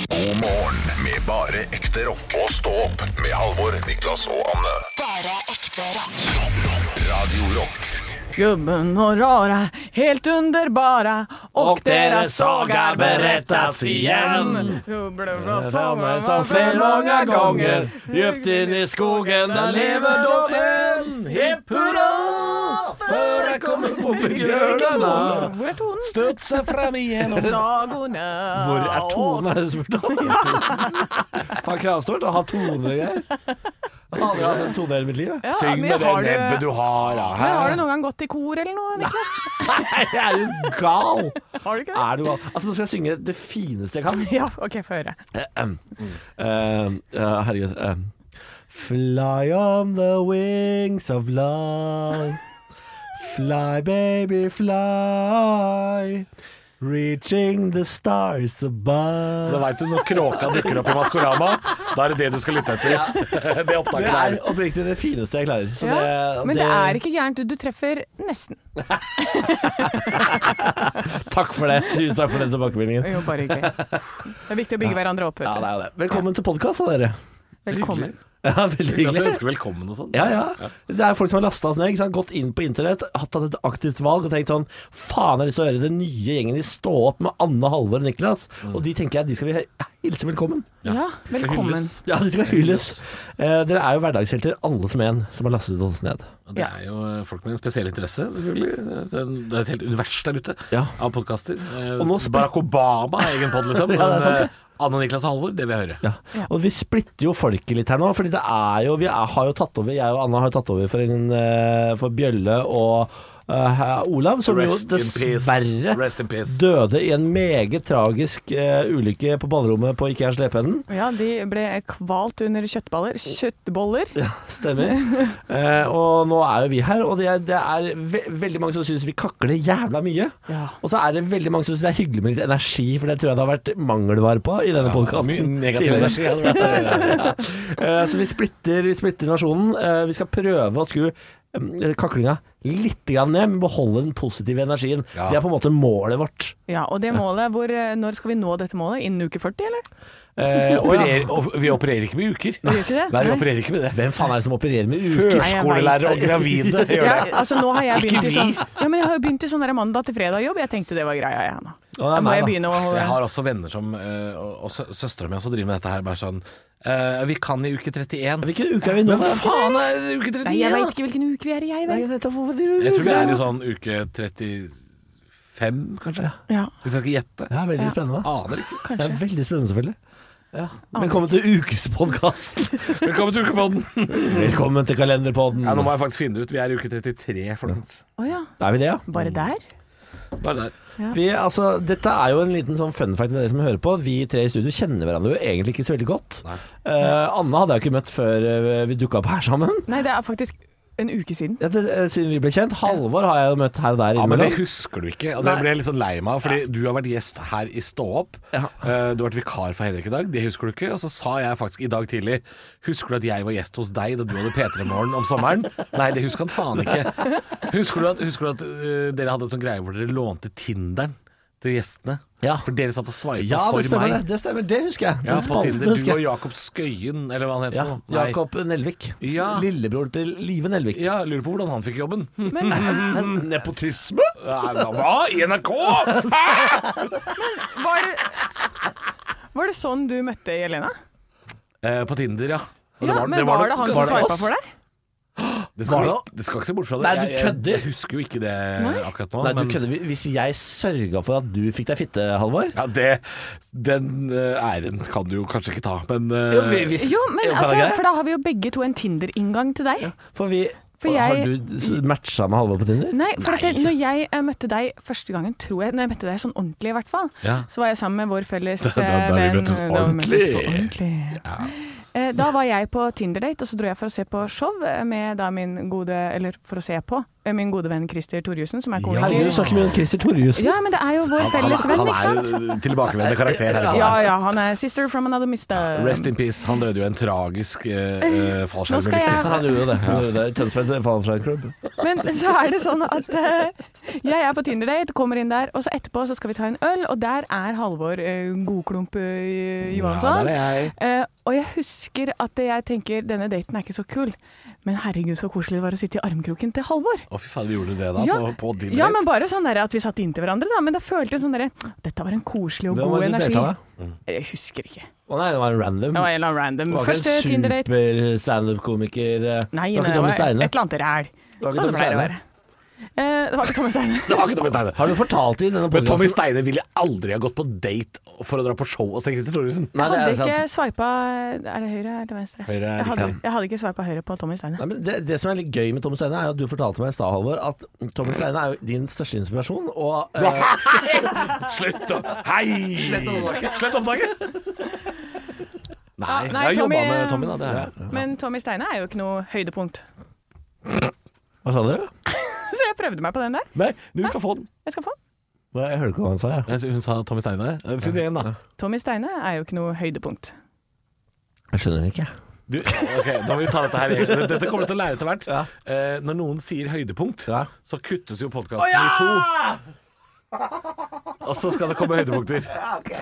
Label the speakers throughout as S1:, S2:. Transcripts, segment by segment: S1: God morgen med bare ekte rock. Og stå opp med Halvor, Niklas og Anne.
S2: Bare ekte rock.
S1: Radio Rock.
S3: Gubben og rara, helt underbara, og,
S4: Och deras saga berättas igen. Sammen som flere mange ganger Djupt inn i skogen Der lever de en Hipp hurra Før jeg kommer på begrønene
S3: Hvor er tonen?
S4: Støtser frem igjennom
S3: Sagorna
S4: Hvor er tonen, er det spurt om? Faen Kravstort, å ha toner og greier. Jeg har aldri hatt en tone i hele mitt liv. jeg.
S3: Ja,
S4: Syng
S3: men
S4: med det
S3: har du-
S4: nebbet du har. da.
S3: Men har du noen gang gått i kor eller noe, Niklas?
S4: Nei, jeg er jo gal!
S3: Har du ikke det?
S4: Er du gal? Altså, nå skal jeg synge det fineste jeg kan.
S3: Ja, ok, få høre.
S4: Ahem. Ahem. Ja, Eh, herregud. Ahem. Fly on the wings of love. Fly, baby, fly. Reaching the stars above.
S5: Da veit du når kråka dukker opp i Maskorama, da er det det du skal lytte etter. Det
S4: det
S5: opptaket
S4: er
S5: der.
S4: oppriktig det fineste jeg klarer. Så
S3: Ja,
S4: det,
S3: men det er ikke gærent, du- du treffer nesten.
S4: Takk for det. Tusen takk for den tilbakemeldingen.
S3: Jo, bare hyggelig. Det er viktig å bygge hverandre opp, vet
S4: Ja, det
S3: du.
S4: er jo det. Velkommen til podkast, da, dere.
S3: Velkommen.
S4: Ja, veldig
S5: Hyggelig at du
S4: hyggelig.
S5: ønsker velkommen og sånn.
S4: Ja, ja. Det er folk som har lasta oss ned, ikke sant? gått inn på internett, hatt tatt et aktivt valg og tenkt sånn Faen, jeg har lyst til å høre den nye gjengen i Stå opp med Anne, Halvor og Niklas. Og de tenker jeg de skal vi hilse velkommen.
S3: Ja, velkommen.
S4: Ja, de skal hylles. Eh, dere er jo hverdagshelter, alle som en, som har lastet oss ned.
S5: Og det er jo eh, folk med en spesiell interesse, selvfølgelig. Det er en- det er et helt univers der ute
S4: Ja.
S5: av podkaster. Eh,
S4: Og nå sp-
S5: Barack Obama har egen pod, liksom.
S4: Ja, det er sant,
S5: Men, eh, Anne Niklas og Halvor, det vil jeg høre.
S4: Ja. Og vi splitter jo folket litt her nå, fordi det er jo Vi er, har jo tatt over, jeg og Anna har jo tatt over for, en, eh, for Bjølle og eh, Olav, som jo
S5: Rest in peace.
S4: dessverre
S5: Rest in peace.
S4: døde i en meget tragisk eh, ulykke på ballrommet på Ikea Slepeenden.
S3: Ja, de ble kvalt under kjøttballer. Kjøttboller.
S4: Stemmer. Eh, og nå er jo vi her, og det er, det er ve veldig mange som syns vi kakler jævla mye.
S3: Ja.
S4: Og så er det veldig mange som syns det er hyggelig med litt energi, for det tror jeg det har vært mangelvare på i denne
S5: Mye
S4: podkasten.
S5: negativ energi hadde vært der.
S4: Eh, så vi splitter, vi splitter nasjonen. Eh, vi skal prøve å skru eh, kaklinga litt grann ned, men beholde den positive energien.
S5: Ja.
S4: Det er på en måte målet vårt.
S3: Ja, og det målet, hvor, eh, når skal vi nå dette målet? Innen uke 40, eller?
S4: Eh, og ja.
S5: Operer- og Vi opererer ikke med uker.
S3: Vi gjør ikke det?
S5: Nei, vi
S3: Nei.
S5: opererer ikke med det.
S4: Hvem faen er det som opererer med uker?
S5: Førskolelærere og gravide gjør
S3: Ja,
S5: det.
S3: altså nå har jeg begynt i
S5: vi.
S3: sånn Ja, men jeg har jo begynt i sånn der mandag til fredag-jobb. Jeg tenkte det var greia, jeg nå.
S4: Å, det er
S3: Da må
S4: meg,
S3: jeg
S4: da.
S3: begynne å
S5: Altså, jeg har også venner som eh, Og, og sø- søstera mi også driver med dette her. Bare sånn eh, Vi kan i uke 31.
S4: Hvilken uke er vi nå?
S5: Hva faen er det uke 31?
S3: Nei, jeg
S5: da?
S3: veit ikke hvilken uke vi er i, jeg.
S4: Nei,
S3: Vet.
S4: nettopp, hvorfor driver du
S5: Jeg tror vi
S4: uker,
S5: er
S4: da?
S5: i sånn uke 35, kanskje.
S3: Ja.
S5: Hvis jeg skal gjette.
S4: Ja, veldig
S3: Ja.
S4: spennende.
S5: Aner ikke.
S4: Det er veldig spennende, selvfølgelig. Velkommen til ukespodkasten.
S5: Velkommen til ukepodden.
S4: Velkommen til kalenderpodden.
S5: Ja, nå må jeg faktisk finne det ut. Vi er i uke 33, folkens.
S3: Å ja.
S4: Da er vi det, ja.
S3: Bare der?
S5: Bare der.
S4: Vi, altså, dette er jo en liten sånn fun fact til dere som hører på. Vi tre i studio kjenner hverandre jo egentlig ikke så veldig godt.
S5: Nei.
S4: Eh, Anna hadde jeg ikke møtt før eh, vi dukka opp her sammen.
S3: Nei, det er faktisk en uke siden.
S4: Ja, det, eh, siden vi ble kjent. Halvor har jeg jo møtt her og der
S5: Ja, men det
S4: innimellom.
S5: husker du ikke. Og det ble jeg litt sånn lei meg av, fordi du har vært gjest her i Stå opp.
S4: Ja.
S5: Eh, Du har vært vikar for Henrik i dag, det husker du ikke. Og så sa jeg faktisk i dag tidlig Husker du at jeg var gjest hos deg da du hadde P3-morgen om sommeren? Nei, det husker han faen ikke. Husker du at, husker du at eh, dere hadde en sånn greie hvor dere lånte Tinderen til gjestene?
S4: Ja.
S5: For dere satt og sveipa
S4: ja, det
S5: for
S4: stemmer,
S5: meg.
S4: det, det stemmer. Det husker jeg. Den
S5: Ja, på
S4: spalten
S5: Tinder. Du
S4: husker
S5: og
S4: jeg.
S5: Jakob Skøyen, eller hva han heter.
S4: Ja,
S5: for noe. Nei.
S4: Jakob Nelvik.
S5: Ja.
S4: Lillebror til Live Nelvik.
S5: Ja, lurer på hvordan han fikk jobben. Hm.
S3: Men, eh,
S4: Nepotisme?
S5: Nei, Hva? I NRK?!
S3: var, det, var det sånn du møtte Jelena?
S5: Eh, på Tinder, ja. Og
S3: Ja, men var det han som
S5: var det
S3: sveipa
S5: oss?
S3: for deg?
S5: Det skal,
S4: Var det-
S5: det skal ikke se bort fra det.
S4: Nei, du
S5: Jeg-
S4: kødder.
S5: Jeg, jeg husker jo ikke det akkurat nå.
S4: Nei, du
S5: men
S4: kødder. Hvis jeg sørga for at du fikk deg fitte, Halvor
S5: ja, det, den eh, æren kan du jo kanskje ikke ta, men eh,
S4: hvis,
S3: Jo, men
S4: Jo, kan
S3: altså,
S4: jeg greie?
S3: for da har vi jo begge to en Tinder-inngang til deg.
S4: For vi
S3: For jeg-
S4: Har du s- matcha med Halvor på Tinder?
S3: Nei, for at det, når jeg eh, møtte deg første gangen, tror jeg Når jeg møtte deg sånn ordentlig, i hvert fall,
S5: Ja.
S3: så var jeg sammen med vår felles eh,
S5: da vi
S3: venn.
S5: møttes
S3: da vi møttes på
S5: ordentlig.
S3: ordentlig.
S5: ja.
S3: Eh, Da var jeg på Tinder-date, og så dro jeg for å se på show med da min gode Eller for å se på eh, min gode venn Christer Torjussen, som er komiker.
S6: Herregud, du snakker mye om Christer Torjussen.
S3: Ja, men det er jo vår felles venn, ikke
S5: han
S3: sant?
S5: er jo tilbakevendende karakter her. i
S3: Ja,
S5: landet.
S3: ja, han er sister from another mister.
S5: Rest in peace. Han døde jo i en tragisk eh, eh,
S3: Nå skal jeg-
S5: fallskjermulykke.
S6: Han gjorde det. Han gjorde det. Tønsberg Fallskjermklubb.
S3: Men så er det sånn at eh, jeg er på Tinder-date, kommer inn der, og så etterpå så skal vi ta en øl, og der er Halvor eh, Godklump eh, Johansson.
S5: Ja, der er jeg.
S3: Eh, og jeg husker at jeg tenker denne daten er ikke så kul, men herregud så koselig det var å sitte i armkroken til Halvor.
S5: Å, fy fader, gjorde du det da?
S3: Ja.
S5: På, på din
S3: Ja,
S5: date?
S3: men bare sånn der at vi satt inntil hverandre, da. Men da følte jeg sånn derre Dette var en koselig og
S6: Hvem
S3: god
S6: var det du
S3: energi.
S6: data med?
S3: Jeg husker ikke.
S6: Å nei, det var en random.
S3: Det var en eller annen random.
S6: Det var
S3: Første
S6: ikke en
S3: Tinder-date.
S6: super-standup-komiker. eh. det
S3: Nei,
S6: var
S3: nei,
S6: ikke Tommy
S3: et
S6: Steine.
S3: eller annet
S6: var
S3: ræl.
S6: ikke Tommy
S3: Sånn det pleier å
S6: Steine.
S3: være. Eh, det var ikke Tommy Steine.
S5: Det var ikke Tommy Steine.
S6: Har du fortalt i denne
S5: Men Tommy
S6: podcasten?
S5: Steine ville aldri ha gått på date for å dra på show hos Christer Thoresen.
S6: Nei, det
S3: hadde
S6: er sant.
S3: ikke sveipa Er det høyre eller venstre?
S5: Høyre er
S3: jeg, hadde,
S5: riktig.
S3: jeg hadde ikke sveipa høyre på Tommy Steine.
S6: Nei, men det, det som er litt gøy med Tommy Steine, er at du fortalte meg i stad, Halvor, at Tommy Steine er jo din største inspirasjon. Og eh,
S5: Slutt å Hei! Slett opptaket. Nei,
S3: Ja, Ah, nei,
S5: jeg har jobba
S3: Tommy,
S5: med Tommy, da. Det har jeg.
S3: Men Tommy Steine er jo ikke noe høydepunkt.
S6: hva sa dere?
S3: Så jeg prøvde meg på den der.
S5: Nei, du skal få den.
S3: Jeg skal få den.
S6: Hva- Jeg hørte ikke hva han sa, jeg.
S5: Jeg synes Hun sa Tommy Steine. Eh, Si det igjen, da.
S3: Tommy Steine er jo ikke noe høydepunkt.
S6: Jeg skjønner det ikke.
S5: Du, ok, Da må vi ta dette her igjen. Dette kommer du til å lære etter hvert. Eh, når noen sier høydepunkt,
S6: Ja.
S5: så kuttes jo podkasten i to. Og så skal det komme høydepunkter.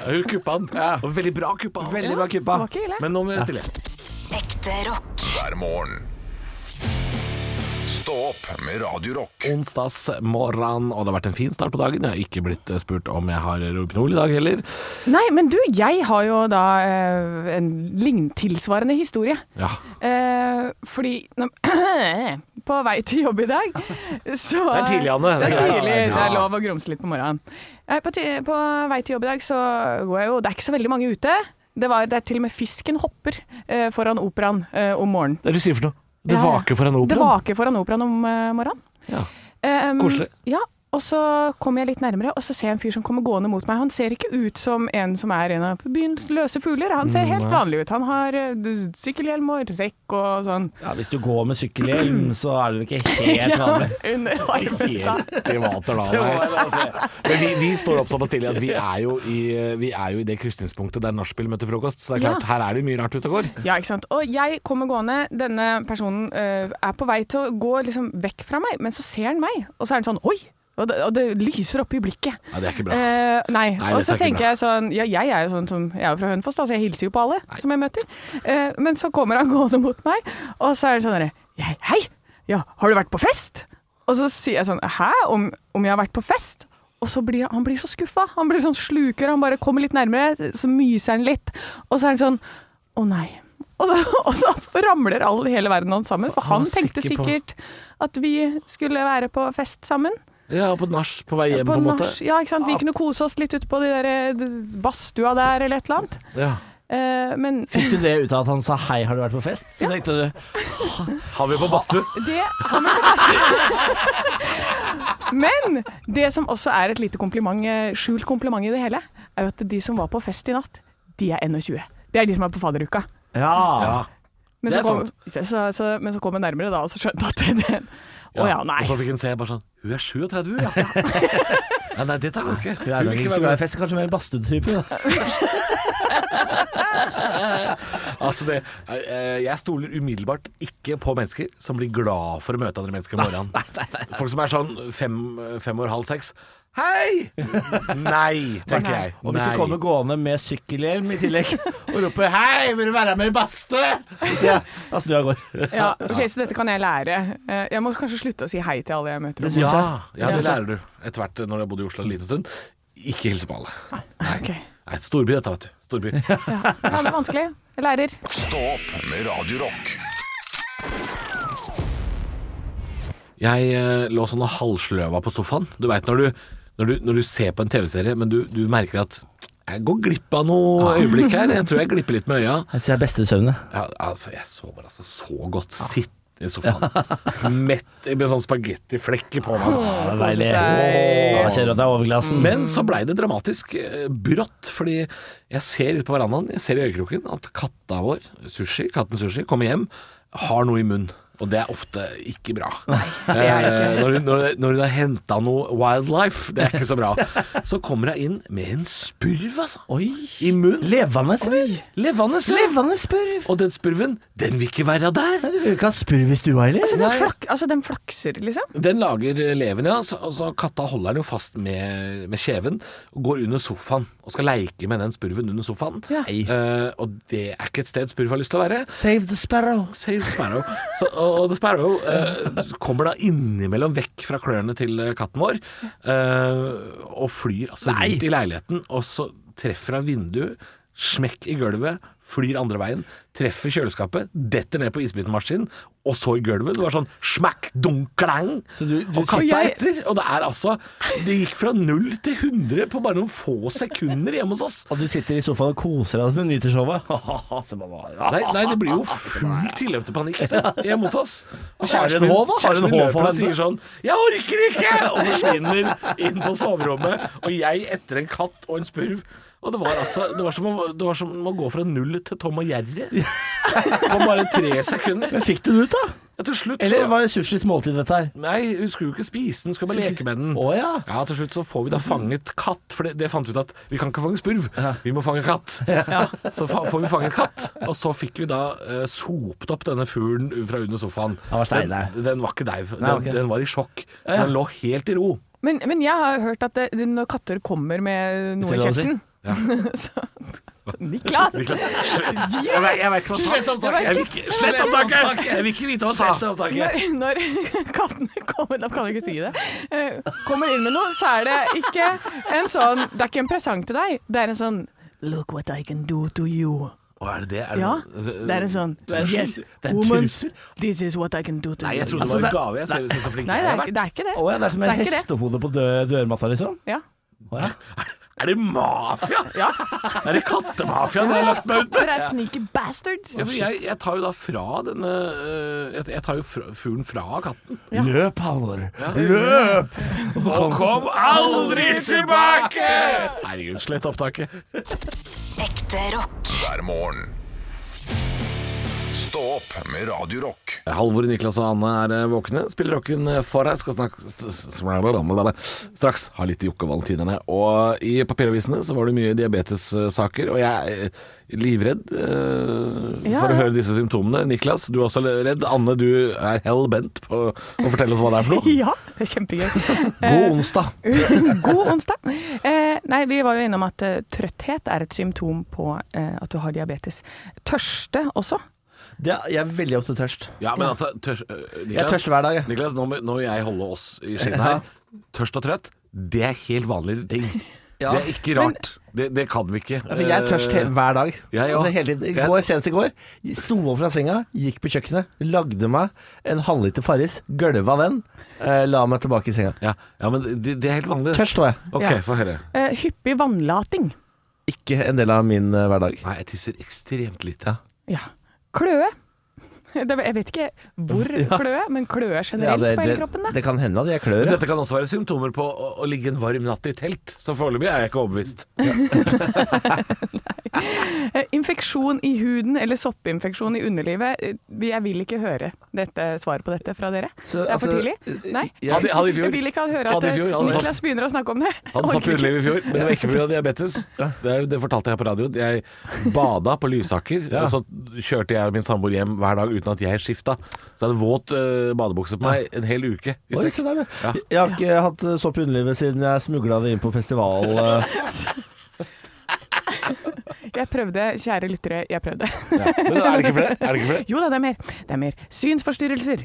S5: Hun kuppa den. Og Veldig bra kuppa. han.
S6: Veldig bra
S3: Det
S6: kuppa.
S3: var ikke ille.
S5: Ah, Men nå må vi være stille.
S7: Ekte rock.
S1: hver morgen. Stå opp med Radio Rock.
S5: Onsdagsmorgen, og det har vært en fin start på dagen. Jeg har ikke blitt eh, spurt om jeg har Rohypnol i dag heller.
S3: Nei, men du, jeg har jo da eh, en lign tilsvarende historie.
S5: Ja.
S3: Eh, fordi nå, På vei til jobb i dag, så
S5: Det er tidlig, Anne.
S3: Det er
S5: greit.
S3: tidlig. Det er
S5: Ja.
S3: lov å grumse litt på morgenen. Eh, På, ti- på vei til jobb i dag så går jeg jo Det er ikke så veldig mange ute. Det, var, det er til og med fisken hopper eh, foran operaen eh, om morgenen.
S5: Det er det du sier for noe? Det
S3: Ja, ja.
S5: vaker foran
S3: Det
S5: operaen?
S3: vaker foran operaen om eh, morgenen.
S5: Ja.
S3: Em,
S5: Koselig.
S3: Ja, og så kommer jeg litt nærmere, og så ser jeg en fyr som kommer gående mot meg. Han ser ikke ut som en som er en av byens løse fugler. Han ser helt vanlig ut. Han har eh, d- sykkelhjelm og sekk og sånn.
S6: Ja, hvis du går med sykkelhjelm, så er du ikke helt vanlig.
S3: Under armen.
S5: Helt privater da, nei. Men vi, vi står opp såpass tidlig at vi er jo i, vi er jo i det krysningspunktet der nachspiel møter frokost. Så det er
S3: Ja.
S5: klart, her er det mye rart ute og går.
S3: Ja, ikke sant. Og jeg kommer gående, denne personen eh, er på vei til å gå liksom vekk fra meg, men så ser han meg, og så er han sånn oi! Og det, og det lyser opp i blikket.
S5: Nei, det er ikke bra.
S3: Eh, nei.
S5: Nei,
S3: og
S5: dette
S3: så
S5: er ikke
S3: tenker
S5: bra.
S3: jeg sånn Ja, jeg er jo sånn som Jeg er jo fra Hønefoss, da, så jeg hilser jo på alle som jeg møter. Eh, men så kommer han gående mot meg, og så er det sånn derre «Jeg- Hei! Ja, har du vært på fest? Og så sier jeg sånn Hæ? Om, om jeg har vært på fest? Og så blir han blir så skuffa. Han blir sånn sluker, han bare kommer litt nærmere, så myser han litt. Og så er han sånn Å nei. Og så, og så ramler all, hele verden hans sammen. For han,
S5: var
S3: tenkte
S5: sikker på-
S3: sikkert at vi skulle være på fest sammen
S5: Ja, på nach på vei hjem, på,
S3: på
S5: en måte.
S3: nach. Ja, ikke sant? Vi kunne kose oss litt ute på de der eh, d- badstua der, eller et eller annet.
S5: Ja.
S3: Eh, men
S6: Fikk du det ut av at han sa 'hei, har du vært på fest'? Så tenkte du
S5: Har vi på badstue?
S3: det han er Men det som også er et lite kompliment, eh, skjult kompliment i det hele, er jo at de som var på fest i natt, de er 21. Det er de som er på fadderuka.
S6: ja.
S5: Ja.
S3: Men
S5: Det
S3: så
S5: er
S3: kom, så, så, men så kom jeg nærmere da, og så skjønte jeg at det Å ja, nei.
S5: Og så fikk hun se bare sånn Hun er 37, ja. Nei, nei, dette er hun ikke.
S6: Hun er nok
S5: vil
S6: ikke så
S5: være
S6: glad
S5: med.
S6: i fest, kanskje mer badstuetype. da.
S5: Altså det, eh, jeg stoler umiddelbart ikke på mennesker som blir glad for å møte andre mennesker om morgenen. Folk som er sånn fem, fem år, halv seks. Hei! Nei, tenker jeg.
S6: Og hvis du
S5: Nei.
S6: kommer gående med sykkelhjelm i tillegg og roper 'hei, vil du være med i badstue', så sier jeg da snur jeg og går.
S3: Ja, ok, Så dette kan jeg lære. Eh, Jeg må kanskje slutte å si hei til alle jeg møter. om
S6: synes
S5: ja,
S6: jeg.
S5: ja, det
S6: synes jeg.
S5: lærer du etter hvert når du har bodd i Oslo en liten stund. Ikke hilse på alle. Nei,
S3: Ah, Ok.
S5: Nei storby dette, vet du. Storby.
S3: morgenen. Ja, det er vanskelig. Jeg lærer. Altså,
S1: Stå opp med Radio Rock
S5: Jeg eh, lå sånn og halvsløva på sofaen. Du veit når, du- når, du- når du ser på en TV-serie, men du, du merker at jeg går glipp av noe øyeblikk her. Jeg tror jeg glipper litt med øya.
S6: Jeg synes det er beste søvnet.
S5: Ja, altså, jeg sover altså så godt. Sitt i sofaen. Mett med sånn spagettiflekker på meg. sånn.
S6: Ja, Deilig. Ja, jeg kjenner at det er over glassen.
S5: Men så blei det dramatisk eh, brått, fordi jeg ser ut på verandaen, jeg ser i øyekroken at katta vår, Sushi, katten Sushi, kommer hjem, har noe i munnen. Og det er ofte ikke bra.
S3: det er det ikke.
S5: Eh, Når, hun- når, når hun har henta noe wildlife, det er ikke så bra. Så kommer hun inn med en spurv, altså. I munnen.
S4: Levende spurv.
S5: Levende. ja.
S4: Levende spurv.
S5: Og den spurven, den vil ikke være der.
S4: Du vil ikke ha spurv i stua heller.
S3: Så den, flak, altså, den flakser, liksom?
S5: Den lager leven, ja. Så, og så katta holder den jo fast med, med kjeven og går under sofaen og skal leike med den spurven under sofaen.
S3: Ja.
S5: Eh, og det er ikke et sted spurv har lyst til å være.
S4: Save the sparrow.
S5: Save Sparrow. Så, og, og The Sparrow eh, kommer da innimellom vekk fra klørne til eh, katten vår eh, og flyr altså rundt i leiligheten, og så treffer han vinduet, smekk i gulvet, flyr andre veien, treffer kjøleskapet, detter ned på isbitemaskinen, og så i gulvet. Det var sånn smekk, dunk, klang.
S4: Så du- du
S5: Og katta
S3: sier- Jeg-
S5: etter. Og det er altså Det gikk fra null til 100 på bare noen få sekunder hjemme hos oss.
S4: Og du sitter i sofaen og koser deg som du nyter showet. Så bare- ja.
S5: Nei, nei, det blir jo full tilløp til panikk hjemme hos oss. Og
S4: Har du en håv, da? Har du en
S5: kjæresten min
S4: håv
S5: løper
S4: for
S5: og
S4: henne?
S5: sier sånn 'Jeg orker ikke!' og forsvinner inn på soverommet. Og jeg etter en katt og en spurv. Og det var altså Det var som å, det var som å gå fra null til Tom og Jerry på bare tre sekunder.
S4: Men fikk du den ut, da?
S5: Ja, til slutt
S4: Eller
S5: så
S4: var det sushis måltid, dette her?
S5: Nei, hun skulle jo ikke spise den, hun skulle bare leke med den.
S4: Å ja.
S5: Ja, Til slutt så får vi da fanget katt, for det, det fant vi ut at vi kan ikke fange spurv, vi må fange katt. Så fa får vi fanget katt, og så fikk vi da eh, sopt opp denne fuglen fra under sofaen.
S4: Han var steinlaug.
S5: Den, den var ikke dau, den,
S4: Nei, ok.
S5: den var i sjokk. Så den lå helt i ro.
S3: Men, men jeg har hørt at det, det- når katter kommer med noe i
S4: Hvis det er lov å si.
S3: kjeften så, så, Niklas!
S5: Niklas, Jeg vet, jeg vet ikke hva han sa. Slett opptaket! Jeg vil ikke, slett opptaket! Jeg vil ikke vite hva han sa.
S3: Når, når kattene kommer Da kan jeg ikke si det. eh, Kommer inn med noe, så er det ikke en sånn Det er ikke en presang til deg. Det er en sånn Look what I can do to you.
S5: Å, er det det? Er det
S3: Ja,
S5: noe-
S3: det er en sånn
S4: er-
S3: Yes,
S4: altså, det er
S3: woman,
S4: truser.
S3: this is what I can do to
S5: Nei,
S3: you.
S5: jeg trodde Altså, det var en gave. Jeg ser ut som så flink
S3: Nei,
S5: jeg
S3: det
S5: har
S3: er,
S5: vært.
S3: ikke- det er ikke det.
S4: Å ja, det er som
S3: Det
S4: et
S3: er ikke det.
S4: hestehode på dø dørmatta, liksom?
S3: Ja.
S4: Å, ja.
S5: Er det mafia?
S3: ja.
S5: Er det kattemafiaen jeg har lagt meg ut med?
S3: Dere er sneaky bastards.
S5: Ja, for jeg, jeg tar jo da fra denne øh, Jeg, jeg tar jo fra, fuglen fra katten.
S4: Løp, Halvor. Løp!
S5: Og kom aldri tilbake! Herregud, slett opptaket.
S7: Ekte rock.
S1: hver morgen. Stå opp med Radio Rock.
S5: Halvor, Niklas og Anne er eh, våkne. Spiller rocken eh, for deg. Skal snakke s- s- s- straks. Ha litt Jokke og Valentinerne. Og i papiravisene så var det mye diabetessaker, og jeg er eh, livredd eh,
S3: Ja,
S5: for å
S3: ja.
S5: høre disse symptomene. Niklas, du er også redd. Anne, du er hell bent på å fortelle oss hva det er for noe.
S3: Ja, det er kjempegøy.
S4: God onsdag.
S3: God onsdag. Eh, nei, vi var jo innom at eh, trøtthet er et symptom på eh, at du har diabetes. Tørste også.
S4: Det, jeg er veldig ofte tørst.
S5: Ja, men altså tørs, øh, Niklas,
S4: Jeg tørster hver dag, jeg.
S5: Niklas, nå må, nå må jeg holde oss i skinnet her. Tørst og trøtt, det er helt vanlige ting.
S4: Ja.
S5: Det er ikke rart. det, det kan vi ikke. Øh,
S4: Ja, for jeg er tørst he hver dag.
S5: jeg
S4: altså,
S5: òg.
S4: hele tiden. I
S5: Jeg-
S4: går, senest i går sto opp fra senga, gikk på kjøkkenet, lagde meg en halvliter Farris, gølva den, eh, la meg tilbake i senga.
S5: Ja, ja men det, det er helt vanlig.
S4: Tørst var jeg.
S5: Ok,
S3: Ja.
S5: få høre.
S3: Eh, hyppig vannlating.
S4: Ikke en del av min eh, hverdag.
S5: Nei, jeg tisser ekstremt lite.
S3: Ja. Kløe. Det, jeg vet ikke hvor kløe, men kløe generelt
S4: det,
S3: på hele kroppen.
S4: det,
S3: Da.
S4: det kan hende at jeg klør. ja.
S5: Dette kan også være symptomer på å, å ligge en varm natt i telt, så foreløpig er jeg ikke overbevist.
S3: Eh, infeksjon i huden eller soppinfeksjon i underlivet. eh, Jeg vil ikke høre dette, svaret på dette fra dere.
S4: Så,
S3: det er for
S4: altså,
S3: tidlig. Nei.
S4: ja,
S5: hadde- hadde i fjor.
S3: Jeg vil ikke høre at
S5: Hadde i fjor,
S3: eh,
S5: hadde
S3: Niklas begynner å snakke om det.
S5: Han
S3: Orker
S5: satt i
S3: ikke.
S5: utelivet i fjor, men det var ikke pga. diabetes. Det, er jo- det fortalte jeg på radioen. Jeg bada på Lysaker, og så kjørte jeg og min samboer hjem hver dag uten at jeg skifta. Så jeg hadde våt eh, badebukse på meg en hel uke. i
S4: Oi,
S5: strekk.
S4: se der, du.
S5: Ja.
S4: Jeg har ikke hatt eh, sopp i underlivet siden jeg smugla det inn på festival. eh.
S3: Jeg prøvde, kjære lyttere, jeg prøvde.
S5: Ja. Men er det ikke flere? Er det ikke flere?
S3: Jo da, det er mer. Det er mer. Synsforstyrrelser.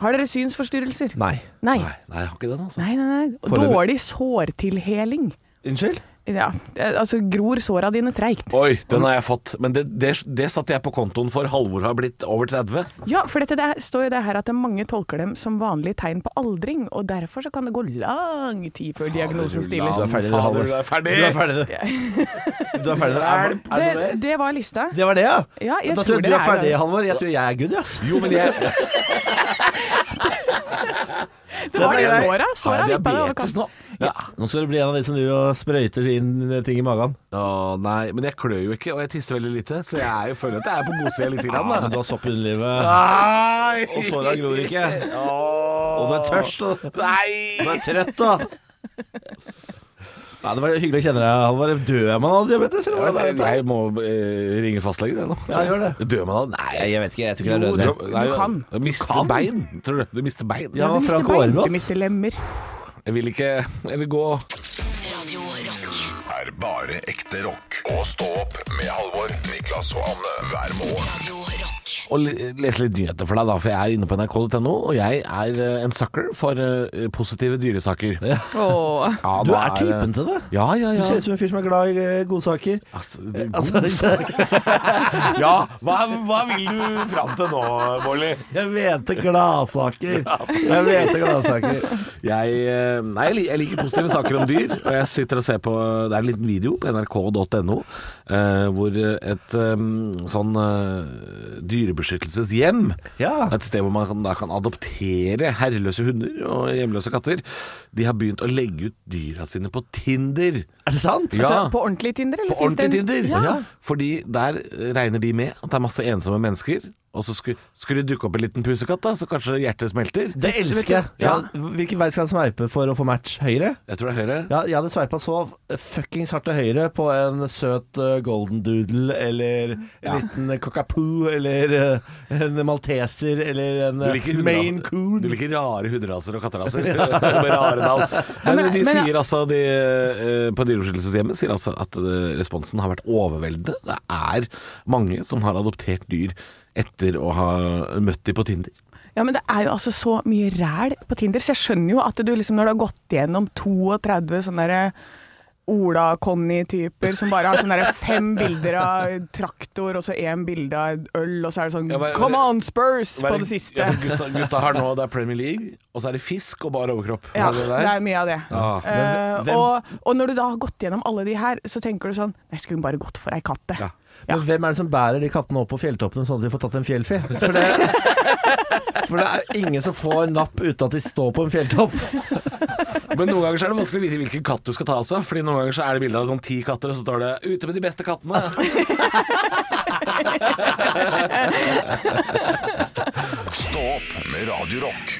S3: Har dere synsforstyrrelser?
S4: Nei.
S3: Nei.
S5: Nei, nei, jeg har ikke den, altså.
S3: Nei, nei, nei.
S4: Foreløpig.
S3: Dårlig sårtilheling.
S4: Unnskyld?
S3: Ja, eh, altså gror såra dine treigt.
S5: Oi, den har jeg fått. Men det, det, det satte jeg på kontoen for Halvor har blitt over 30.
S3: Ja, for dette, det er- står jo det her at det mange tolker dem som vanlige tegn på aldring, og derfor så kan det gå lang tid før diagnosen stilles.
S4: Du er ferdig,
S5: Fader,
S4: Halvor.
S5: du er ferdig.
S4: Du er ferdig. Du er ferdig. Er, er det noe mer?
S3: Det, det var lista.
S4: Det var det, ja?
S3: Ja, jeg
S4: da
S3: tror
S4: jeg du
S3: dere
S4: er
S3: er
S4: ferdig,
S3: det.
S4: Halvor. Jeg tror jeg er good, ass.
S5: Jo, men jeg
S3: Det var de
S4: var grei.
S3: såra.
S5: Har
S3: Såra
S5: jeg
S3: vippa det over
S5: diabetes
S3: kanten.
S5: nå?
S4: Ja. Nå skal du bli en av de som driver og sprøyter inn ting i magen.
S5: Å nei, men jeg klør jo ikke, og jeg tisser veldig lite, så jeg er jo føler at jeg er på godsida lite
S4: Ja,
S5: grann.
S4: men
S5: Da.
S4: du har sopp i underlivet,
S5: Nei!
S4: og såra gror ikke. Og du er tørst, og du
S5: Nei!
S4: er trøtt, da. Nei, det var hyggelig å kjenne deg, Halvor. Dør man av diabetes, eller hva? er det?
S5: Jeg må eh, ringe fastlegen, jeg nå.
S4: Ja, gjør det.
S5: Dør man av Nei.
S4: Nei, jeg vet ikke. Jeg tror ikke
S3: Jo,
S4: det er
S3: du-
S4: dødelig.
S3: du kan.
S5: Du mister bein, tror du. Du mister bein.
S4: Ja,
S3: Du mister
S4: Frank
S3: bein, du
S4: Aarebrot.
S3: mister lemmer.
S5: Jeg vil ikke Jeg vil gå
S8: Radio Rock.
S1: er bare ekte rock. Og stå opp med Halvor, Niklas og Anne hver morgen.
S8: Radio Rock.
S5: og le- lese litt nyheter for deg, da, for jeg er inne på nrk.no, og jeg er eh, en sucker for eh, positive dyresaker. Ja,
S3: Åh.
S4: Du
S5: nå
S4: er typen til det.
S5: Ja, ja,
S4: Du
S5: ja.
S4: ser ut som en fyr som er glad i eh, godsaker.
S5: Altså, det,
S4: Altså,
S5: ja, hva, hva vil du fram til nå, Bolly?
S4: jeg mente gladsaker. Jeg mente gladsaker.
S5: Jeg, eh, nei, jeg lik- jeg liker positive saker om dyr, og jeg sitter og ser på Det er en liten video på nrk.no eh, hvor et eh, sånn eh, dyrebeskyttelseshjem
S4: Ja.
S5: Et sted hvor man kan- da kan adoptere herreløse hunder og hjemløse katter. De har begynt å legge ut dyra sine på Tinder.
S4: Er det sant?
S5: Ja.
S3: Altså, på ordentlig Tinder? Eller
S5: På
S3: finnes det
S5: ordentlig
S3: en-
S5: Tinder!
S3: Ja.
S5: Fordi der regner de med at det er masse ensomme mennesker. Og så skulle, skulle det dukke opp en liten pusekatt, da, så kanskje hjertet smelter.
S4: Det elsker jeg.
S5: Ja.
S4: Ja. Hvilken vei skal jeg sveipe for å få match? Høyre?
S5: Jeg tror det er høyre.
S4: Ja, jeg hadde sveipa så fuckings hardt til høyre på en søt eh, golden doodle eller en liten cockapoo eller eh, en malteser eller en
S5: Du
S4: eh,
S5: liker, hundra-
S4: maine coon.
S5: du liker rare hunderaser og katteraser. Med rare navn. Men de
S3: men-
S5: sier altså de, eh, På Dyrebeskyttelseshjemmet sier altså at eh, responsen har vært overveldende. Det er mange som har adoptert dyr etter å ha møtt de på Tinder.
S3: Ja, men det er jo altså så mye ræl på Tinder, så jeg skjønner jo at du liksom, når du har gått gjennom 32 sånne der eh, Ola-Conny-typer som bare har sånne der fem bilder av traktor og så én bilde av øl, og så er det sånn
S5: Ja, hva-
S3: Come on, Spurs!
S5: Hva
S3: på
S5: er
S3: det siste.
S5: Ja, for gutta, gutta har nå Det er Premier League, og så er det fisk og bar overkropp.
S3: Ja,
S5: Er det
S3: det
S5: der?
S3: er mye av det.
S5: Ah.
S3: Eh,
S4: hvem-
S3: og, og når du da har gått gjennom alle de her, så tenker du sånn Nei, skulle hun bare gått for ei katte?
S5: Ja.
S4: Men hvem er det som bærer de kattene opp på fjelltoppene sånn at de får tatt en fjellfe? For det, for det er ingen som får napp uten at de står på en fjelltopp.
S5: Men noen ganger så er det vanskelig å vite hvilken katt du skal ta også. Fordi noen ganger så er det bilde av sånn ti katter, og så står det 'ute med de beste kattene'.
S1: Stå opp med Radio Rock.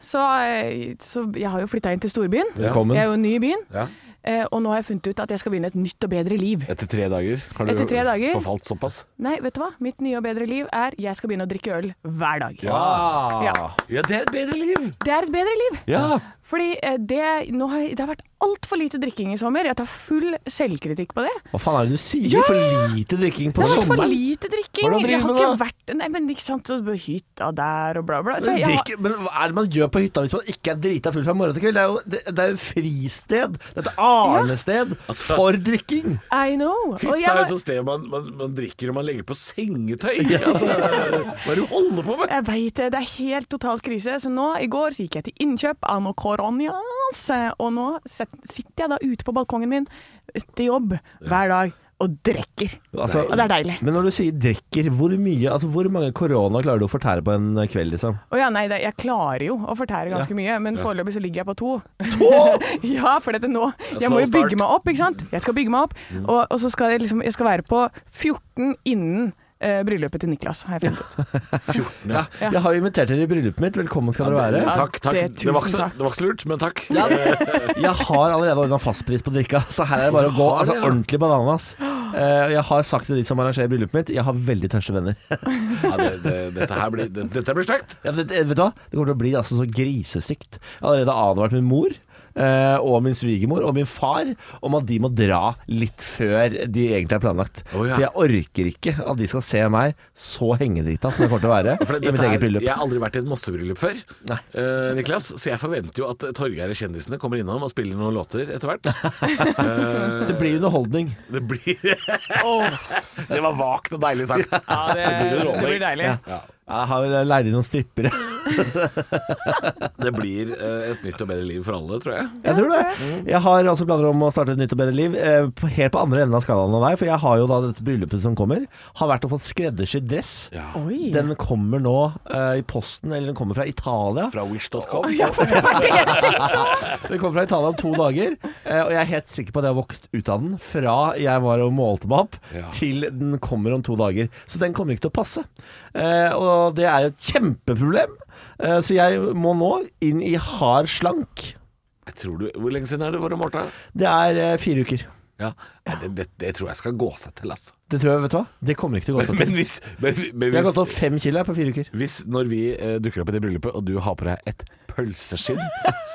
S3: Så, eh, så jeg har jo flytta inn til storbyen.
S4: Velkommen.
S3: Jeg er jo ny i byen.
S5: Ja.
S3: Eh, og nå har jeg funnet ut at jeg skal begynne et nytt og bedre liv.
S5: Etter tre dager har du
S3: Etter tre dager?
S5: forfalt såpass.
S3: Nei, vet du hva? Mitt nye og bedre liv er jeg skal begynne å drikke øl hver dag.
S4: Ah.
S3: Ja.
S5: Ja, det er et bedre liv!
S3: Det er et bedre liv.
S5: Ja.
S3: Fordi eh, det, nå har, det har vært altfor lite drikking i sommer. Jeg tar full selvkritikk på det.
S4: Hva faen er det du sier?
S3: Ja, ja, ja.
S4: For lite drikking på
S3: Det har vært for
S4: sommeren?
S3: lite drikking.
S4: Hvordan driver
S3: Jeg har
S4: du
S3: ikke
S4: med
S3: vært Nei, men ikke sant. så Hytta der og bla, bla. Så
S4: Men,
S3: jeg har,
S4: drikke, men hva er det man gjør på hytta hvis man ikke er drita full fra morgen til kveld? Det er jo, det, det er jo fristed. Det er et arnested for drikking.
S3: I know. Og jeg
S5: Hytta er
S3: har-
S5: et sånt sted man, man, man drikker og man legger på sengetøy. Altså, hva er det du holder på med?
S3: Jeg veit det. Det er helt totalt krise. Så nå, i går, så gikk jeg til innkjøp av noe koronias. Og nå set- sitter jeg da ute på balkongen min til jobb hver dag og drikker.
S4: Altså-
S3: og det er deilig.
S4: Men når du sier drikker, hvor mye Altså hvor mange korona klarer du å fortære på en kveld, liksom?
S3: Å ja, nei, det, jeg klarer jo å fortære ganske mye, men foreløpig så ligger jeg på to. ja, for dette nå Jeg må jo
S5: Slow start.
S3: bygge meg opp, ikke sant? Jeg skal bygge meg opp. Og, og så skal jeg liksom Jeg skal være på 14 innen eh, bryllupet til Niklas, har jeg funnet ut.
S4: Ja. Jeg har jo invitert dere i bryllupet mitt. Velkommen skal dere være.
S3: Ja,
S5: Takk, takk.
S3: det-
S5: Det, var
S3: tusen
S5: ikke så,
S3: takk.
S5: det var ikke så lurt, men takk.
S4: Ja, jeg har allerede ordna fastpris på drikka, så her er det bare å gå
S5: Har du,
S4: altså,
S5: ja?
S4: ordentlig bananas. Eh, Jeg har sagt til de som arrangerer bryllupet mitt, jeg har veldig tørste venner.
S5: Ja, det, det, dette her blir, det, dette blir stygt.
S4: Ja, men det, vet du hva? Det kommer til å bli altså så grisestygt. Jeg har allerede advart min mor. eh, Og min svigermor og min far om at de må dra litt før de egentlig er planlagt.
S5: Å, ja.
S4: For jeg orker ikke at de skal se meg så hengedrita som jeg kommer til å være
S5: For det-
S4: i mitt
S5: dette
S4: eget
S5: er-
S4: bryllup.
S5: Jeg har aldri vært i et mossebryllup før,
S4: Nei.
S5: eh, Niklas, så jeg forventer jo at torgeiere kjendisene kommer innom og spiller noen låter etter hvert.
S4: Det blir underholdning.
S5: Det blir Det var vagt og deilig sagt.
S3: Ja, det,
S5: blir underholdning.
S3: deilig.
S4: Jeg har leid inn noen strippere.
S5: Det blir eh, et nytt og bedre liv for alle, tror jeg.
S4: Jeg tror det. Jeg har også planer om å starte et nytt og bedre liv, eh, på- helt på andre enden av skalaen enn deg. For jeg har jo da dette bryllupet som kommer, har vært og fått skreddersydd dress.
S3: Oi.
S4: Den kommer nå eh, i posten, eller den kommer fra Italia.
S5: Fra wish.com.
S4: Den kommer fra Italia om to dager, eh, og jeg er helt sikker på at jeg har vokst ut av den. Fra jeg var og målte meg opp,
S5: Ja.
S4: til den kommer om to dager. Så den kommer ikke til å passe. Eh, og det er et kjempeproblem. Eh, så jeg må nå inn i hard slank.
S5: Jeg tror du, Hvor lenge siden er det du var og Martha?
S4: Det er eh, fire uker.
S5: Ja. Nei, Det, det, det tror jeg skal gå seg til, altså.
S4: Det tror jeg, vet du hva? Det kommer ikke til å gå
S5: Men,
S4: seg
S5: men
S4: til.
S5: hvis, men, men
S4: Jeg har gått
S5: hvis,
S4: opp fem kilo jeg, på fire uker.
S5: hvis når vi eh, dukker opp i det bryllupet, og du har på deg et pølseskinn,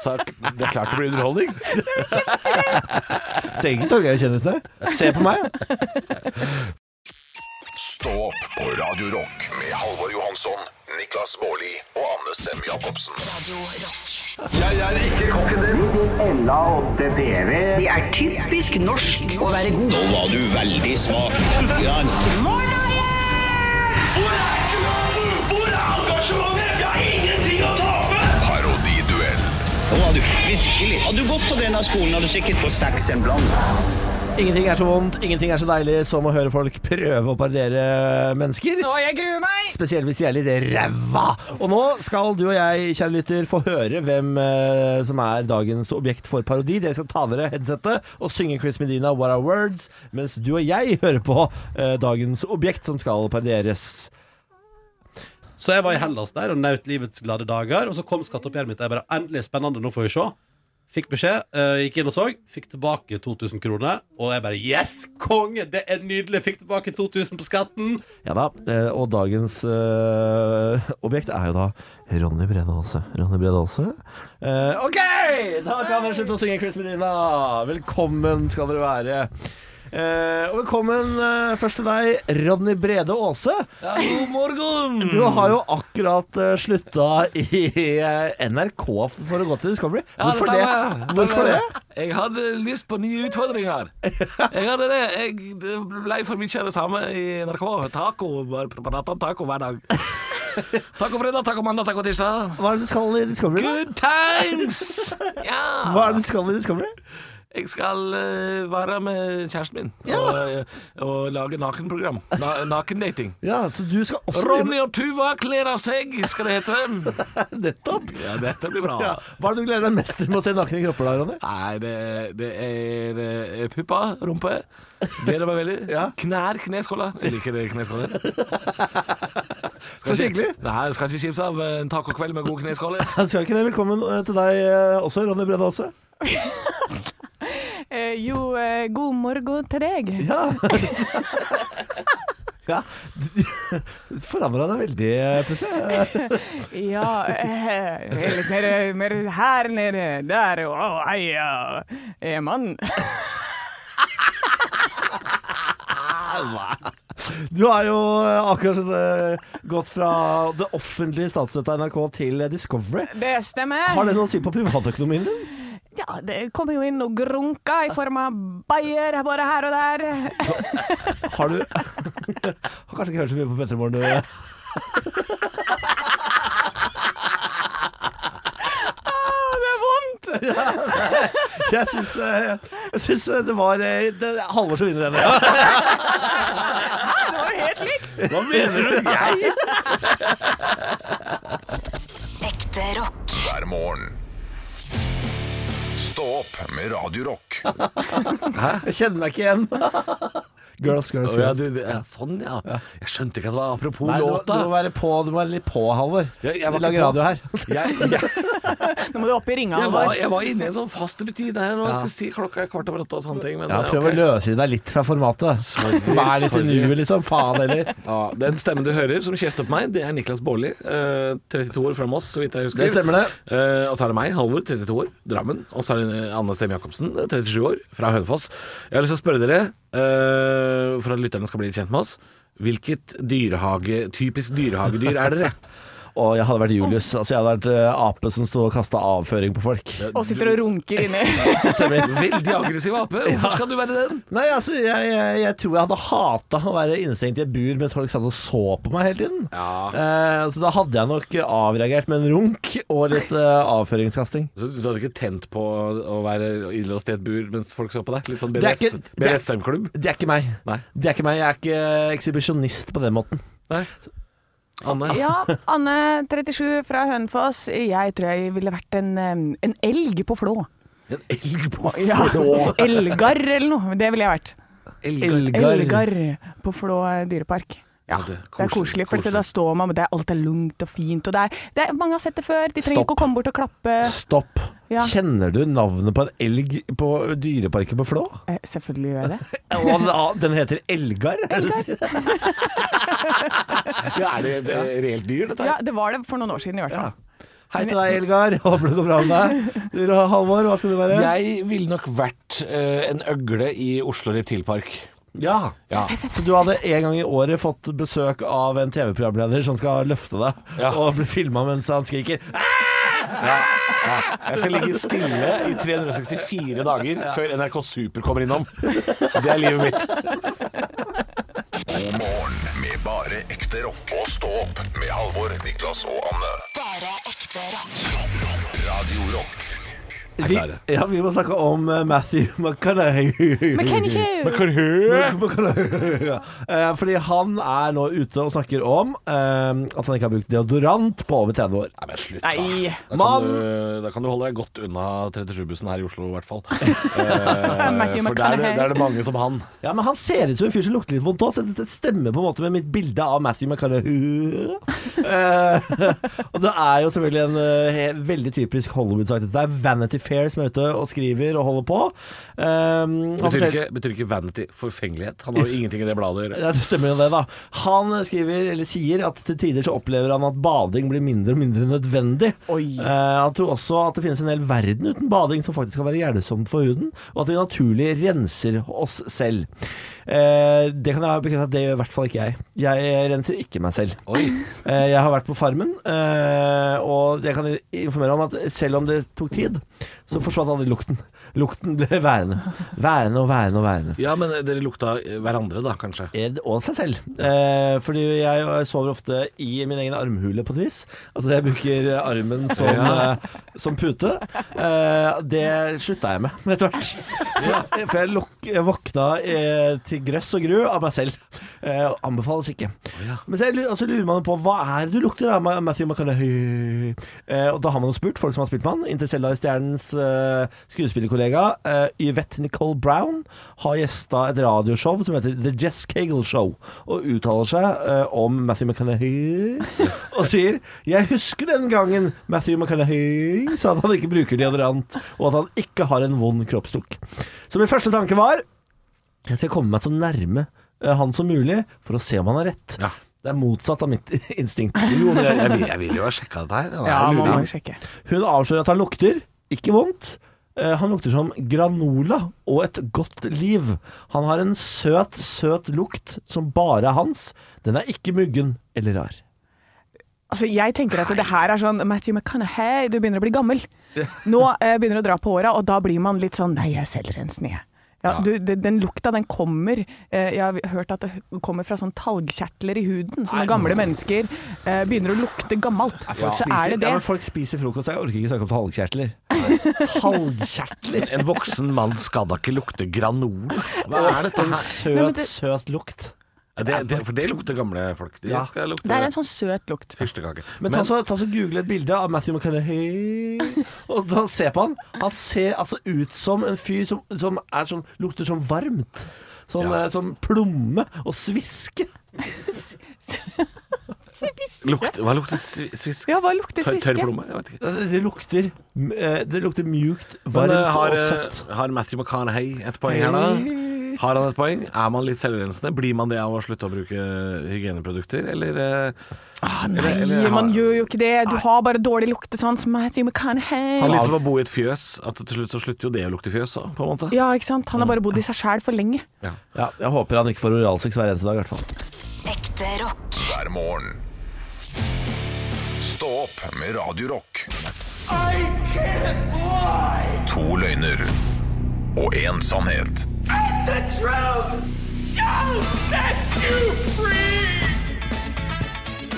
S5: så er det er klart det blir underholdning.
S4: Tenk deg Torgeir-kjendisene. Se på meg.
S1: Stå opp på Radio Rock med Halvor Johansson, Niklas Baarli og Anne Sem Jacobsen.
S7: Radio Rock.
S9: Det er typisk norsk å være god.
S10: Nå var du veldig smak. Grann.
S11: Hvor er engasjementet? Jeg har ingenting å tape!
S1: Parodiduell
S10: Nå var du virkelig. Hadde du gått på denne skolen, hadde du sikkert fått seks en blant.
S4: Ingenting er så vondt, ingenting er så deilig som å høre folk prøve å parodiere mennesker.
S3: Å, jeg gruer meg!
S4: Spesielt hvis de er litt ræva. Og nå skal du og jeg, kjære lytter, få høre hvem eh, som er dagens objekt for parodi. Dere skal ta av dere headsetet og synge Chris Medina 'What Are Words', mens du og jeg hører på eh, dagens objekt som skal parodieres.
S12: Så jeg var i Hellas der og nøt livets glade dager. Og så kom skatteoppgjøret mitt. og Jeg bare, endelig spennende, nå får vi se. Fikk beskjed, eh, gikk inn og så. Fikk tilbake 2000 kroner. Og jeg bare Yes, konge! Det er nydelig! Fikk tilbake 2000 på skatten.
S4: Ja da, eh, og dagens eh, objekt er jo da Ronny Brede Aase. Ronny Brede Aase. Eh, OK, da kan dere slutte å synge Chris Medina. Velkommen skal dere være. Eh, og velkommen eh, først til deg, Ronny Brede Aase.
S12: God morgen!
S4: Du har jo akkurat uh, slutta i eh, NRK for å gå til Discovery. Hvorfor det? Hvorfor det?
S6: Jeg hadde lyst på nye utfordringer. Jeg hadde det. Jeg, det ble for mye av det samme i NRK. Taco. Bare prate om taco hver dag. Taco fredag, taco mandag, taco tirsdag.
S4: Hva er det du skal i Discovery? da?
S6: Good times! Ja.
S4: Hva er det du skal i Discovery?
S6: Jeg skal eh, være med kjæresten min og, eh, og lage nakenprogram. Na Nakendating.
S4: Ja, så du skal også
S6: Ronny og Tuva kler av seg, skal det hete.
S4: Nettopp!
S6: Ja, dette blir bra.
S4: Ja. Hva er det du gleder deg mest til med å se nakne kropper da, Ronny?
S6: Nei, det, det er eh, puppa, rumpe. Gleder meg veldig.
S4: Ja.
S6: Knær, kneskåler. Jeg liker det kneskåler.
S4: Så hyggelig.
S6: Nei, jeg skal ikke kimse av en tacokveld med gode kneskåler.
S4: Jeg skal ikke det. Velkommen eh, til deg eh, også, Ronny Brede Aase.
S3: Eh, jo, eh, god morgen til deg.
S4: Ja. ja. Du du forandra deg veldig, eh, plutselig.
S3: Ja, eh, litt mer, mer her nede, der, og oh, heia, eh, mann.
S4: Du har jo eh, akkurat eh, gått fra det offentlige statsstøtta NRK til eh, Discovery.
S3: Det stemmer.
S4: Har det noe å si på privatøkonomien din?
S3: Ja, det kommer jo inn og grunker i form av bayer bare her og der.
S4: Har du Har kanskje ikke hørt så mye på Petremorgen, du.
S3: Ah, det er vondt!
S4: Jeg syns, eh, jeg syns eh, det var eh, det er Halvor som vinner den. Ja.
S3: Det var jo helt likt.
S4: Hva mener du? Jeg?
S7: Ekte rock.
S1: hver morgen. Stå opp med Radio Rock.
S4: Jeg kjenner meg ikke igjen. Girls, girls,
S5: ja,
S4: girls.
S5: du, det, ja, sånn, ja. Jeg skjønte ikke at det var apropos
S4: Nei, du, må- du
S5: låta.
S4: må være på, du må være litt på, Halvor.
S5: Ja, jeg var
S4: Vi lager
S5: ikke på.
S4: radio her.
S5: Jeg, jeg,
S3: Nå må du opp i ringa,
S5: jeg, var,
S3: Halvor.
S5: jeg var inne i en sånn fast rutine her nå. Jeg skulle si klokka er kvart over åtte og sånne ting. Men,
S4: Ja,
S5: eh,
S4: prøv
S5: ok.
S4: å løse deg litt fra formatet.
S5: Sorry,
S4: Vær litt i
S5: sorry.
S4: nuet, liksom. Faen heller.
S5: Ja, Den stemmen du hører som kjefter på meg, det er Niklas Baarli. eh, 32 år fram oss, så vidt jeg husker.
S4: Det stemmer det.
S5: Eh, og så er det meg, Halvor, 32 år, Drammen. Og så er det eh, Anne Sem Jacobsen, eh, 37 år, fra Hønefoss. Jeg har lyst til å spørre dere, eh, for at lytterne skal bli litt kjent med oss, hvilket dyrehage, typisk dyrehagedyr er dere?
S4: Og jeg hadde vært Julius. Altså, jeg hadde vært eh, ape som sto og kasta avføring på folk.
S3: Og sitter og runker inni.
S5: Veldig aggressiv ape. Hvorfor skal du være den?
S4: Nei, altså, jeg, jeg, jeg tror jeg hadde hata å være innestengt i et bur mens folk satt og så på meg hele tiden.
S5: Ja.
S4: Eh, så da hadde jeg nok avreagert med en runk og litt eh, avføringskasting.
S5: Så du hadde ikke tent på å være innlåst i et bur mens folk så på deg? Litt sånn
S4: Det er ikke-
S5: BDS BDSM-klubb?
S4: Det er ikke meg.
S5: Nei.
S4: Det er ikke meg. Jeg er ikke ekshibisjonist på den måten.
S5: Nei. Ah, Anne?
S3: Ja, Anne 37 fra Hønefoss. Jeg tror jeg ville vært en, em, en elg på Flå.
S5: En elg på
S3: Ja, Elgar eller noe. Det ville jeg vært.
S4: Elgar.
S3: Elgar på Flå dyrepark. Ja,
S5: Ja, det
S3: det
S5: er
S3: er koselig, for da står man, men det er, alt er lugnt og fint. Og det er, det er, mange har sett det før. De trenger
S4: Stopp.
S3: ikke å komme bort og klappe.
S4: Stopp.
S3: Ja.
S4: Kjenner du navnet på en elg på Dyreparken på Flå?
S3: Eh, selvfølgelig gjør jeg det.
S4: Og den- den heter Elgar?
S5: Ja, er det et reelt dyr, dette her?
S3: Ja, det var det for noen år siden i hvert fall.
S4: Hei til deg, Elgar. Håper det går bra med deg. Du, Halvor, hva skal du være?
S5: Jeg ville nok vært eh, en øgle i Oslo Reptilpark.
S4: Ja.
S5: Ja.
S4: Så du hadde en gang i året fått besøk av en TV-programleder som skal løfte deg
S5: Ja.
S4: og bli filma mens han skriker
S5: Jeg skal ligge stille i 364 dager før NRK Super kommer innom. Det er livet mitt.
S1: God morgen med bare ekte rock. Og stå opp med Halvor, Niklas og Anne.
S7: Bare ekte rock.
S1: Radio Rock.
S4: vi, ja, vi må snakke om eh, Matthew McConaughey.
S3: McKennicky!
S4: McConaughey. Eh, Fordi han er nå ute og snakker om eh, at han ikke har brukt deodorant på over 30 år.
S5: Nei, men slutt, da.
S3: Nei.
S5: Da kan,
S4: Mann!
S5: du, da kan du holde deg godt unna 37-bussen her i Oslo, i hvert fall. Eh,
S3: Matthew
S5: for der er, det,
S3: McConaughey.
S5: der er det mange som han.
S4: Ja, men han ser ut som en fyr som lukter litt vondt òg, så dette stemmer på en måte med mitt bilde av Matthew McConaughey. Eh, og det er jo selvfølgelig en eh, he- veldig typisk Hollywood-sak. Dette er Vanity Fair som er ute og skriver og holder på. Eh, han
S5: Betyr
S4: forteller-
S5: ikke, betyr ikke vanity forfengelighet? Han har jo ingenting i det bladet å gjøre.
S4: Ja, det stemmer jo det, da. Han skriver, eller sier at til tider så opplever han at bading blir mindre og mindre nødvendig.
S3: Oi.
S4: Eh, han tror også at det finnes en hel verden uten bading som faktisk kan være hjelpsomt for huden, og at vi naturlig renser oss selv. Eh, det kan jeg bekrefte at det gjør i hvert fall ikke jeg. Jeg renser ikke meg selv. Eh, Jeg har vært på Farmen, eh, og jeg kan informere om at selv om det tok tid, så forsvant aldri lukten. Lukten ble værende. Værende og værende og værende.
S5: Ja, men dere lukta hverandre da, kanskje?
S4: Eh, Og seg selv. Eh, fordi jeg sover ofte i min egen armhule, på et vis. Altså jeg bruker armen som,
S5: Ja.
S4: eh, som pute. Eh, det slutta jeg med etter hvert. For, for jeg, lok, jeg våkna eh, til grøss og gru av meg selv. Eh, anbefales ikke. Men så jeg, lu- og så lurer man på hva er det du lukter av, Ma- Matthew McConaughey? Eh, og da har man jo spurt folk som har spilt med han. Inntil Selda i Stjernens eh, skuespillerkollega eh, Yvette Nicole Brown har gjesta et radioshow som heter The Jess Cagle Show, og uttaler seg eh, om Matthew McConaughey og sier Jeg husker den gangen Matthew McConaughey sa at han ikke bruker deodorant, og at han ikke har en vond kroppslukt. Så min første tanke var jeg skal komme meg så nærme eh, han som mulig for å se om han har rett.
S5: Ja.
S4: Det er motsatt av mitt instinkt.
S5: Jo, men jeg, jeg, vil- jeg ville jo ha sjekka dette her.
S3: Ja,
S5: Jeg
S3: må
S5: lurer.
S3: man sjekke.
S4: Hun avslører at han lukter, ikke vondt. Eh, Han lukter som granola og et godt liv. Han har en søt, søt lukt som bare er hans. Den er ikke muggen eller rar.
S3: Altså, jeg tenker at det her er sånn Matthew McConaughey, du begynner å bli gammel. Nå eh, begynner du å dra på åra, og da blir man litt sånn Nei, jeg er selvrensende, jeg. Ja, du, det- den lukta, den kommer. Eh, jeg har hørt at det h- kommer fra sånn talgkjertler i huden. Så når gamle mennesker eh, begynner å lukte gammelt, så er det
S4: Ja,
S3: det.
S4: men folk spiser frokost. Jeg orker ikke snakke om talgkjertler. Talgkjertler?
S5: En voksen mann skal da ikke lukte granol. Hva er dette
S4: En
S5: her?
S3: men
S4: søt,
S3: det-
S4: søt lukt.
S5: Ja, Det, det, for det lukter gamle folk. De
S4: Ja.
S5: skal lukte
S3: Det er en sånn søt lukt.
S5: fyrstekake.
S4: Men, ta, så, ta så google et bilde av Matthew McConaughey Og da se på han Han ser altså ut som en fyr som, som, er, som lukter som varmt Sånn,
S5: Ja.
S4: eh, som plomme og sviske
S5: lukt, hva lukter svi- svisk?
S3: Ja, hva lukter
S5: Tørr- Tørr
S3: sviske?
S5: plomme? Jeg vet ikke.
S4: Det det lukter, eh, det lukter mjukt,
S5: Men,
S4: varmt
S5: eh, har,
S4: og
S5: eh,
S4: søtt
S5: har Matthew McConaughey et poeng her, da? Har han et poeng? Er man litt selvrensende? Blir man det av å slutte å bruke hygieneprodukter, eller eh,
S3: Ah, Nei,
S5: eller har-
S3: man gjør jo ikke det. Du har bare dårlig luktesans. Matthew
S5: Det er
S3: McConaughey.
S5: litt sånn- som å bo i et fjøs, at til slutt så slutter jo det å lukte fjøs, da, på en måte.
S3: Ja, ikke sant. Han har bare bodd i seg sjæl for lenge.
S4: ja, Jeg håper han ikke får oralsex hver eneste dag i hvert fall
S7: Ekte rock.
S1: hver morgen. opp med Radio Rock. To løgner og én sannhet.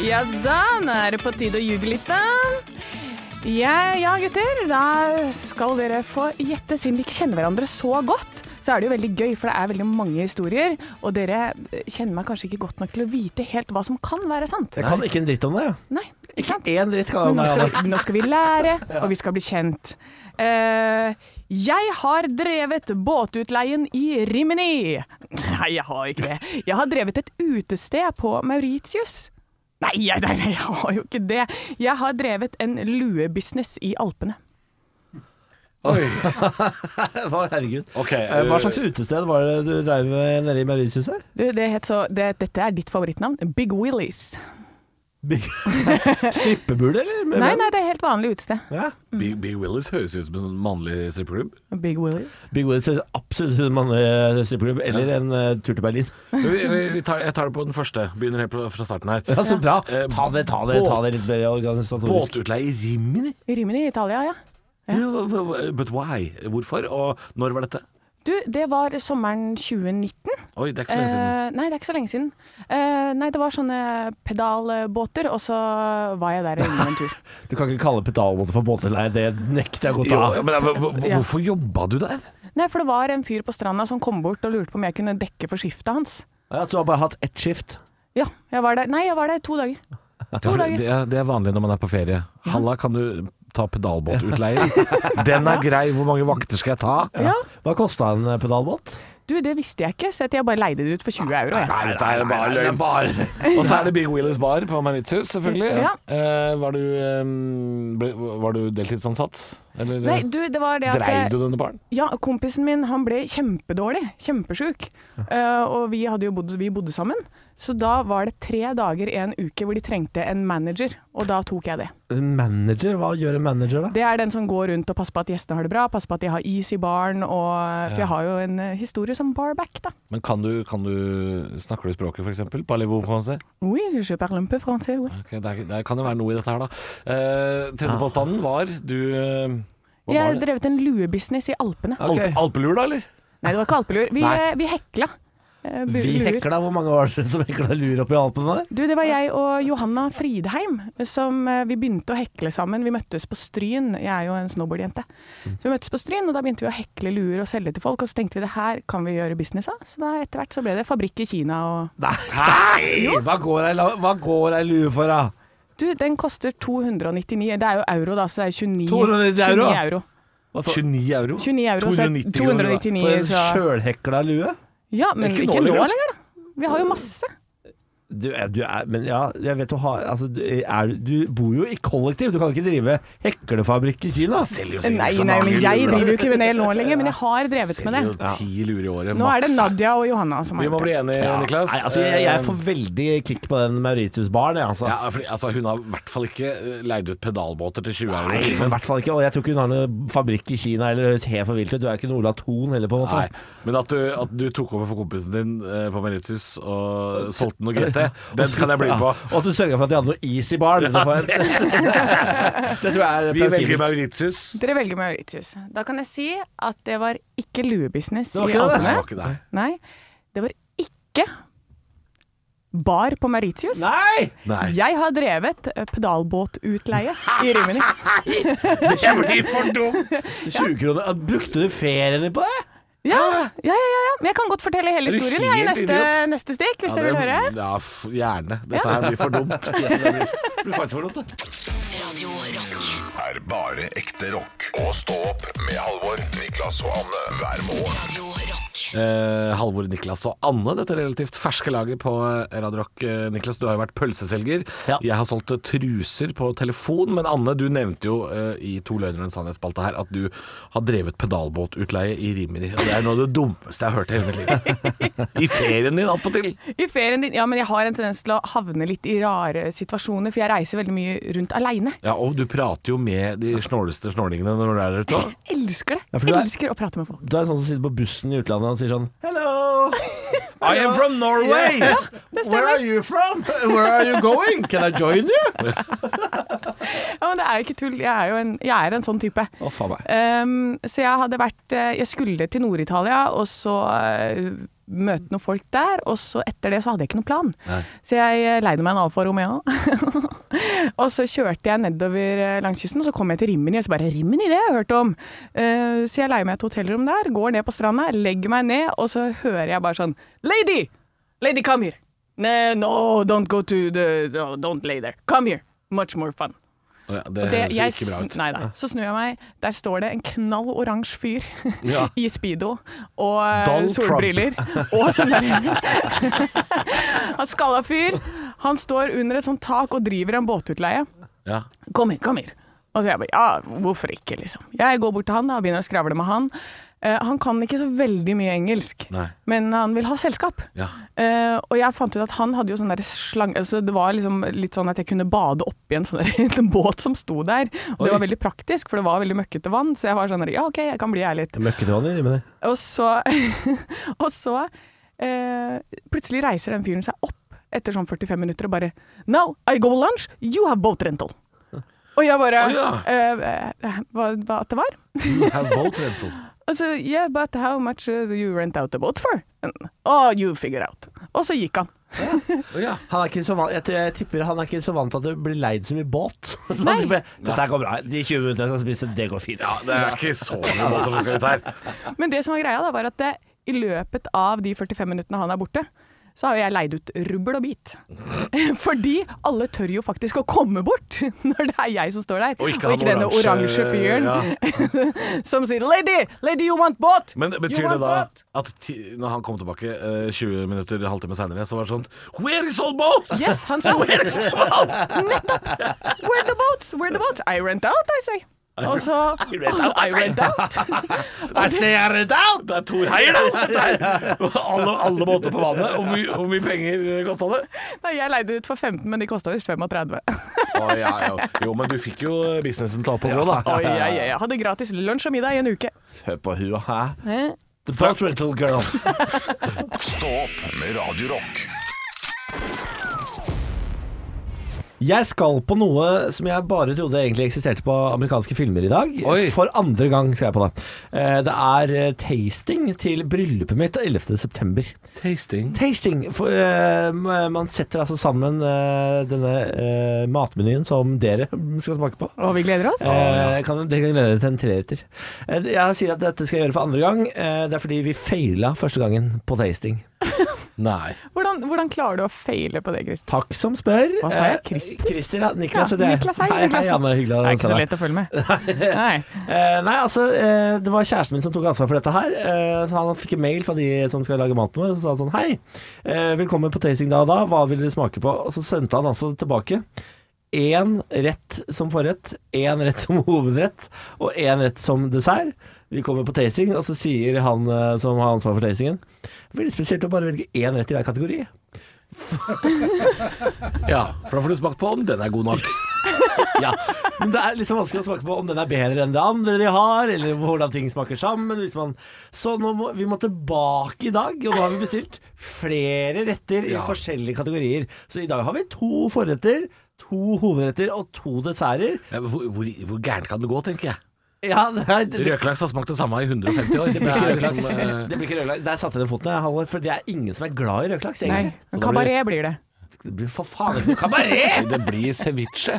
S3: Ja da, nå er det på tide å ljuge litt, da. Ja, ja, gutter, da skal dere få gjette, siden vi ikke kjenner hverandre så godt. Så er det jo veldig gøy, for det er veldig mange historier, og dere eh, kjenner meg kanskje ikke godt nok til å vite helt hva som kan være sant.
S4: Jeg kan ikke en dritt om det.
S3: Nei, ikke sant?
S4: Én dritt kan jeg
S3: Men nå
S4: om det.
S3: skal,
S4: Anne.
S3: vi- nå skal vi lære, og vi skal bli kjent. Eh, jeg har drevet båtutleien i Rimini. Nei, jeg har ikke det. Jeg har drevet et utested på Mauritius. Nei, nei, nei, nei, jeg har jo ikke det. Jeg har drevet en luebusiness i Alpene.
S4: Hva- Herregud.
S5: Ok,
S4: Eh, Hva
S5: eh,
S4: slags utested var det du dreiv med nede i Mauritius her?
S3: Du, det het så, det, dette er ditt favorittnavn. Big Willies.
S4: Big- Strippebule, eller? Med
S3: Nei,
S4: hvem?
S3: nei, det er helt vanlig utested.
S4: Ja.
S5: Big, Big Willis høres ut som en sånn mannlig strippeklubb.
S3: Big Willies.
S4: Big Willis høres absolutt ut som en eh, strippeklubb, eller en eh, tur til Berlin.
S5: Vi, vi, vi tar, jeg tar det på den første. Begynner helt på- fra starten her.
S4: Ja, så bra.
S5: Eh,
S4: Ta det, ta det, ta det
S5: båt.
S4: litt mer organisatorisk.
S5: Båtutleie i Rimini?
S3: I Rimini i Italia, ja.
S5: Ja, But why? Hvorfor? Og når var dette?
S3: Du, det var sommeren 2019.
S5: Oi, det er
S3: Eh, nei,
S5: ikke så lenge siden.
S3: det er ikke så lenge siden. Eh, nei, det var sånne pedalbåter, og så var jeg der innom en tur.
S4: Du kan ikke kalle pedalbåter for båteleie, det nekter jeg å
S5: Jo,
S4: godta.
S5: ja, men, eh, hva- hva-
S3: Ja.
S5: hvorfor jobba du der?
S3: Nei, for det var en fyr på stranda som kom bort og lurte på om jeg kunne dekke for skiftet hans.
S4: Ja, så du har bare hatt ett skift.
S3: Ja, jeg var der. Nei, jeg var der i to dager.
S5: Det er,
S3: dager.
S5: det, er, det er vanlig når man er på ferie. Halla, kan du ta pedalbåtutleie? Den er grei. Hvor mange vakter skal jeg ta?
S3: Ja.
S4: Hva kosta en eh, pedalbåt?
S3: Du, det visste jeg ikke, så jeg bare leide det ut for 20 euro. Jeg.
S5: Nei, dette er bare løgn. Og så er det Big Wheelers Bar på Mauritius, selvfølgelig.
S3: Ja.
S5: Eh, var, du, eh, ble, var du deltidsansatt? Eller
S3: Nei, du, det var det at
S5: dreiv du denne baren?
S3: Ja, kompisen min han ble kjempedårlig, kjempesjuk. Eh, og vi, hadde jo bodd, vi bodde sammen. Så da var det tre dager i en uke hvor de trengte en manager, og da tok jeg det.
S4: En manager? Hva gjør en manager, da?
S3: Det er den som går rundt og passer på at gjestene har det bra, passer på at de har is i baren, og For jeg har jo en eh, historie som barback, da.
S5: Men kan du, kan du Snakker du språket, f.eks.? Parlez-vous français?
S3: Oui, je parle un peu français, oui.
S5: Ok, der, der kan det være noe i dette her, da. Eh, Tredje påstanden var du eh, hva
S3: Jeg
S5: var
S3: har
S5: det?
S3: drevet en luebusiness i Alpene.
S4: Ok.
S5: Alp, Alpelur, da, eller?
S3: Nei, det var ikke alpelur. Vi,
S4: Nei.
S3: eh, vi hekla. eh, bu-
S4: Vi
S3: luer.
S4: hekla. Hvor mange var det som hekla lur oppi Alpene der?
S3: Du, det var jeg og Johanna Fridheim som eh, vi begynte å hekle sammen. Vi møttes på Stryn, jeg er jo en snowboardjente. Så vi møttes på Stryn, og da begynte vi å hekle luer og selge til folk. Og så tenkte vi det her kan vi gjøre business av. Så da etter hvert så ble det fabrikk i Kina og
S4: Nei! Hva går ei la- hva går ei lue for, da?
S3: Du, den koster 299. Det er jo euro, da, så det er 29,
S4: 299 euro?
S3: 29 euro.
S4: Hva for,
S5: 29 euro?
S3: 29 euro, så er
S5: 290 kroner, da.
S4: for
S3: 299,
S4: en
S3: så
S4: sjølhekla lue?
S3: Ja, men
S5: ikke
S3: ikke
S5: nå
S3: nå
S5: lenger, da.
S3: lenger, da. Vi har jo masse.
S4: Du er, du er Men ja, jeg vet du har Altså, du, er, du bor jo i kollektiv. Du kan ikke drive heklefabrikk i Kina. Selger
S3: Nei, nei, men jeg driver jo ikke med det nå lenger, men jeg har drevet med det.
S5: Ti lurer i året,
S3: Nå er det
S5: maks.
S3: Nadia og Johanna som
S5: Vi
S3: har
S5: må bli enige, Niklas.
S4: Nei, altså, jeg, jeg får veldig kick på den Mauritius-baren, jeg, altså.
S5: ja, fordi, altså, Hun har i hvert fall ikke eh, leid ut pedalbåter til 20 euro.
S4: Nei, for i hvert fall ikke. Og jeg tror ikke hun har noen fabrikk i Kina eller høres helt for vilt ut. Du er ikke noe Ola Thon heller, på en måte.
S5: Nei, Men at du, at du tok over for kompisen din eh, på Mauritius og solgte noe GT, den kan jeg bli med på.
S4: Ja, og at du sørga for at de hadde noe is i baren. det, får jeg- det tror jeg er
S5: Vi velger
S4: plausibelt.
S5: Mauritius.
S3: Dere velger Mauritius. Da kan jeg si at det var ikke luebusiness
S4: var
S3: i
S4: ikke det?
S5: Nei, det
S3: Alpene.
S5: var ikke deg.
S3: Nei, det var ikke bar på Mauritius.
S4: Nei!
S5: Nei.
S3: Jeg har drevet eh, pedalbåtutleie i Rimini.
S5: Det blir for dumt!
S4: 20 kroner. Brukte du ferien din på det?
S3: Ja, ja, ja, ja, ja. Men jeg kan godt fortelle hele
S5: Er du
S3: historien jeg, i
S5: helt
S3: neste,
S5: idiot?
S3: neste stikk, hvis
S5: Ja,
S3: dere
S5: det-
S3: vil høre.
S5: Ja, f gjerne. Dette her blir for dumt. Det blir faktisk for dumt, det.
S7: Radio Rock.
S1: Er bare ekte rock. Og stå opp med Halvor, Niklas og Anne hver morgen.
S7: Radio Rock.
S5: Eh, Halvor, Niklas og Anne, dette relativt ferske laget på eh, Radio Rock. Eh, Niklas, du har jo vært pølseselger.
S4: Ja.
S5: Jeg har solgt eh, truser på telefon, men Anne, du nevnte jo eh, i To løgner og en sannhetsspalte her at du har drevet pedalbåtutleie i Rimini. Og det er noe av det dummeste jeg har hørt i hele mitt liv. I ferien din, attpåtil.
S3: I ferien din Ja, men jeg har en tendens til å havne litt i rare situasjoner, for jeg reiser veldig mye rundt aleine.
S5: Ja, og du prater jo med de snåleste snålingene når du er der ute.
S3: Elsker det.
S4: Ja, for du er-
S3: Elsker å prate med folk.
S4: Du er en sånn som sitter på bussen i utlandet og sier sånn Hello!
S5: I am from Norway!
S4: Where are you from? Where are you going? Can I join you?
S3: men det er jo ikke tull. Jeg er jo en, jeg er en sånn type.
S4: Å, faen meg.
S3: Ehm, så jeg hadde vært eh, Jeg skulle til Nord-Italia, og så eh, møte noen folk der. Og så etter det så hadde jeg ikke noen plan. Så jeg eh, leide meg en Alfa Romeo. og så kjørte jeg nedover eh, langs kysten, og så kom jeg til Rimini. Og så bare Rimini, det har jeg hørt om! Eh, så jeg leier meg et hotellrom der, går ned på stranda, legger meg ned, og så hører jeg bare sånn Lady! Lady, come here! Ne- No, don't go to the no, Don't lay there. Come here. Much more fun.
S5: Å ja, Eh, det
S3: Og
S5: høres jo
S3: jeg
S5: ikke bra ut.
S3: sn- Nei, nei. Så snur jeg meg, der står det en knall oransje fyr
S5: Ja.
S3: i speedo og eh,
S5: Donald Trump.
S3: solbriller. Og sånn der. Han skalla fyr. Han står under et sånt tak og driver en båtutleie.
S5: Ja.
S3: Kom hit, kom hit. Og så jeg bare, ja, hvorfor ikke, liksom. Jeg går bort til han da, og begynner å skravle med han. Eh, han kan ikke så veldig mye engelsk,
S5: Nei.
S3: men han vil ha selskap.
S5: Ja.
S3: Eh, og jeg fant ut at han hadde jo sånn der slang... Altså det var liksom litt sånn at jeg kunne bade oppi en sånn der liten båt som sto der. Og det var veldig praktisk, for det var veldig møkkete vann, så jeg var sånn der, ja, ok, jeg kan bli her litt.
S4: Møkkete vann i rimen.
S3: Og så, og så eh, plutselig reiser den fyren seg opp etter sånn 45 minutter og bare Now I go lunch, you have boat rental. Og jeg bare eh, eh, Hva hva at det var?
S5: Have boat rental.
S3: Altså, yeah, but how much uh, do you rent out the boat for? Oh, you figure out. Og så gikk han.
S5: Å ja.
S4: Han er ikke så vant, jeg, jeg tipper han er ikke så vant til at det blir leid så mye båt. Så han tipper, Dette her går bra. De 20 minuttene jeg skal spise, det går fint. Ja,
S5: Det er ikke så mye båt som skal ut her.
S3: Men det som var greia, da, var at det, i løpet av de 45 minuttene han er borte, så har jo jeg leid ut rubbel og bit. Fordi alle tør jo faktisk å komme bort når det er jeg som står der.
S5: Og ikke han
S3: denne oransje
S5: oransje-
S3: fyren
S5: ja.
S3: som sier 'lady, lady you want båt'.
S5: Men
S3: You
S5: betyr det
S3: want
S5: da
S3: båt?
S5: at ti, når han kom tilbake eh, 20 minutter, halvtime seinere, så var det sånn Where is all boat?
S3: Yes, han sa Nettopp! Where the boats? Where the boats? I rent out, I say. Og så I rent out. I rent out.
S5: I ser it out! Det er Tor Heier, da! Det er Alle, alle båter på vannet. Hvor mye, hvor mye penger eh, kosta det?
S3: Nei, jeg leide ut for 15, men de kosta visst 35.
S5: Å, ja, ja. Jo, men du fikk jo businessen til å gå, da.
S3: Oi, jeg, jeg hadde gratis lunsj og middag i en uke.
S4: Hør på hua, hæ? The boat rental girl.
S1: Stå opp med Radio Rock.
S4: Jeg skal på noe som jeg bare trodde egentlig eksisterte på amerikanske filmer i dag.
S5: Oi.
S4: For andre gang skal jeg på det. Eh, Det er eh, tasting til bryllupet mitt 11.9.
S5: Tasting.
S4: Tasting. For, eh, man setter altså sammen eh, denne eh, matmenyen som dere skal smake på.
S3: Og vi gleder oss.
S4: Eh, jeg kan, dere kan glede dere til en treretter. Eh, Jeg sier at dette skal jeg gjøre for andre gang. eh, Det er fordi vi feila første gangen på tasting.
S5: Nei.
S3: Hvordan, hvordan klarer du å feile på det, Kristin?
S4: Takk som spør.
S3: Hva sa jeg?
S4: Eh,
S3: Christer?
S4: Christer, ja. Niklas
S3: Ja,
S4: heter jeg.
S3: Niklas, hei,
S4: hei,
S3: Niklas.
S4: hei, Anne. Hyggelig å
S3: Det er ikke
S4: se
S3: så
S4: deg.
S3: lett å følge med. Nei.
S4: Eh, nei, altså, eh, det var kjæresten min som tok ansvar for dette her. Eh, så han fikk en mail fra de som skal lage maten vår, og så sa han sånn Hei, eh, velkommen på tasting da og da, hva vil dere smake på? Og så sendte han altså tilbake én rett som forrett, én rett som hovedrett, og én rett som dessert. Vi kommer på tasting, og så sier han eh, som har ansvar for tastingen Veldig spesielt å bare velge én rett i hver kategori.
S5: Ja, for da får du smakt på om den er god nok.
S4: Ja, men det er liksom vanskelig å smake på om den er bedre enn det andre de har, eller hvordan ting smaker sammen. Hvis man, så nå må, vi må tilbake i dag, og nå har vi bestilt flere retter i
S5: Ja.
S4: forskjellige kategorier. Så i dag har vi to forretter, to hovedretter og to desserter.
S5: Ja, men Hvor, hvor, hvor gærent kan det gå, tenker jeg.
S4: Ja, det, er, det, det,
S5: Røkelaks har smakt det samme i 150 år. Det
S4: blir
S5: er
S4: ikke
S5: liksom,
S4: rødlaks.
S5: eh,
S4: Det blir ikke rødlaks. Der satte jeg den foten, jeg, Halvor, for det er ingen som er glad i rødlaks,
S3: Nei.
S4: egentlig. Så da blir-
S3: Kabaret blir det.
S4: Det blir for faen ikke noe
S5: eh, Kabaret! Det blir ceviche.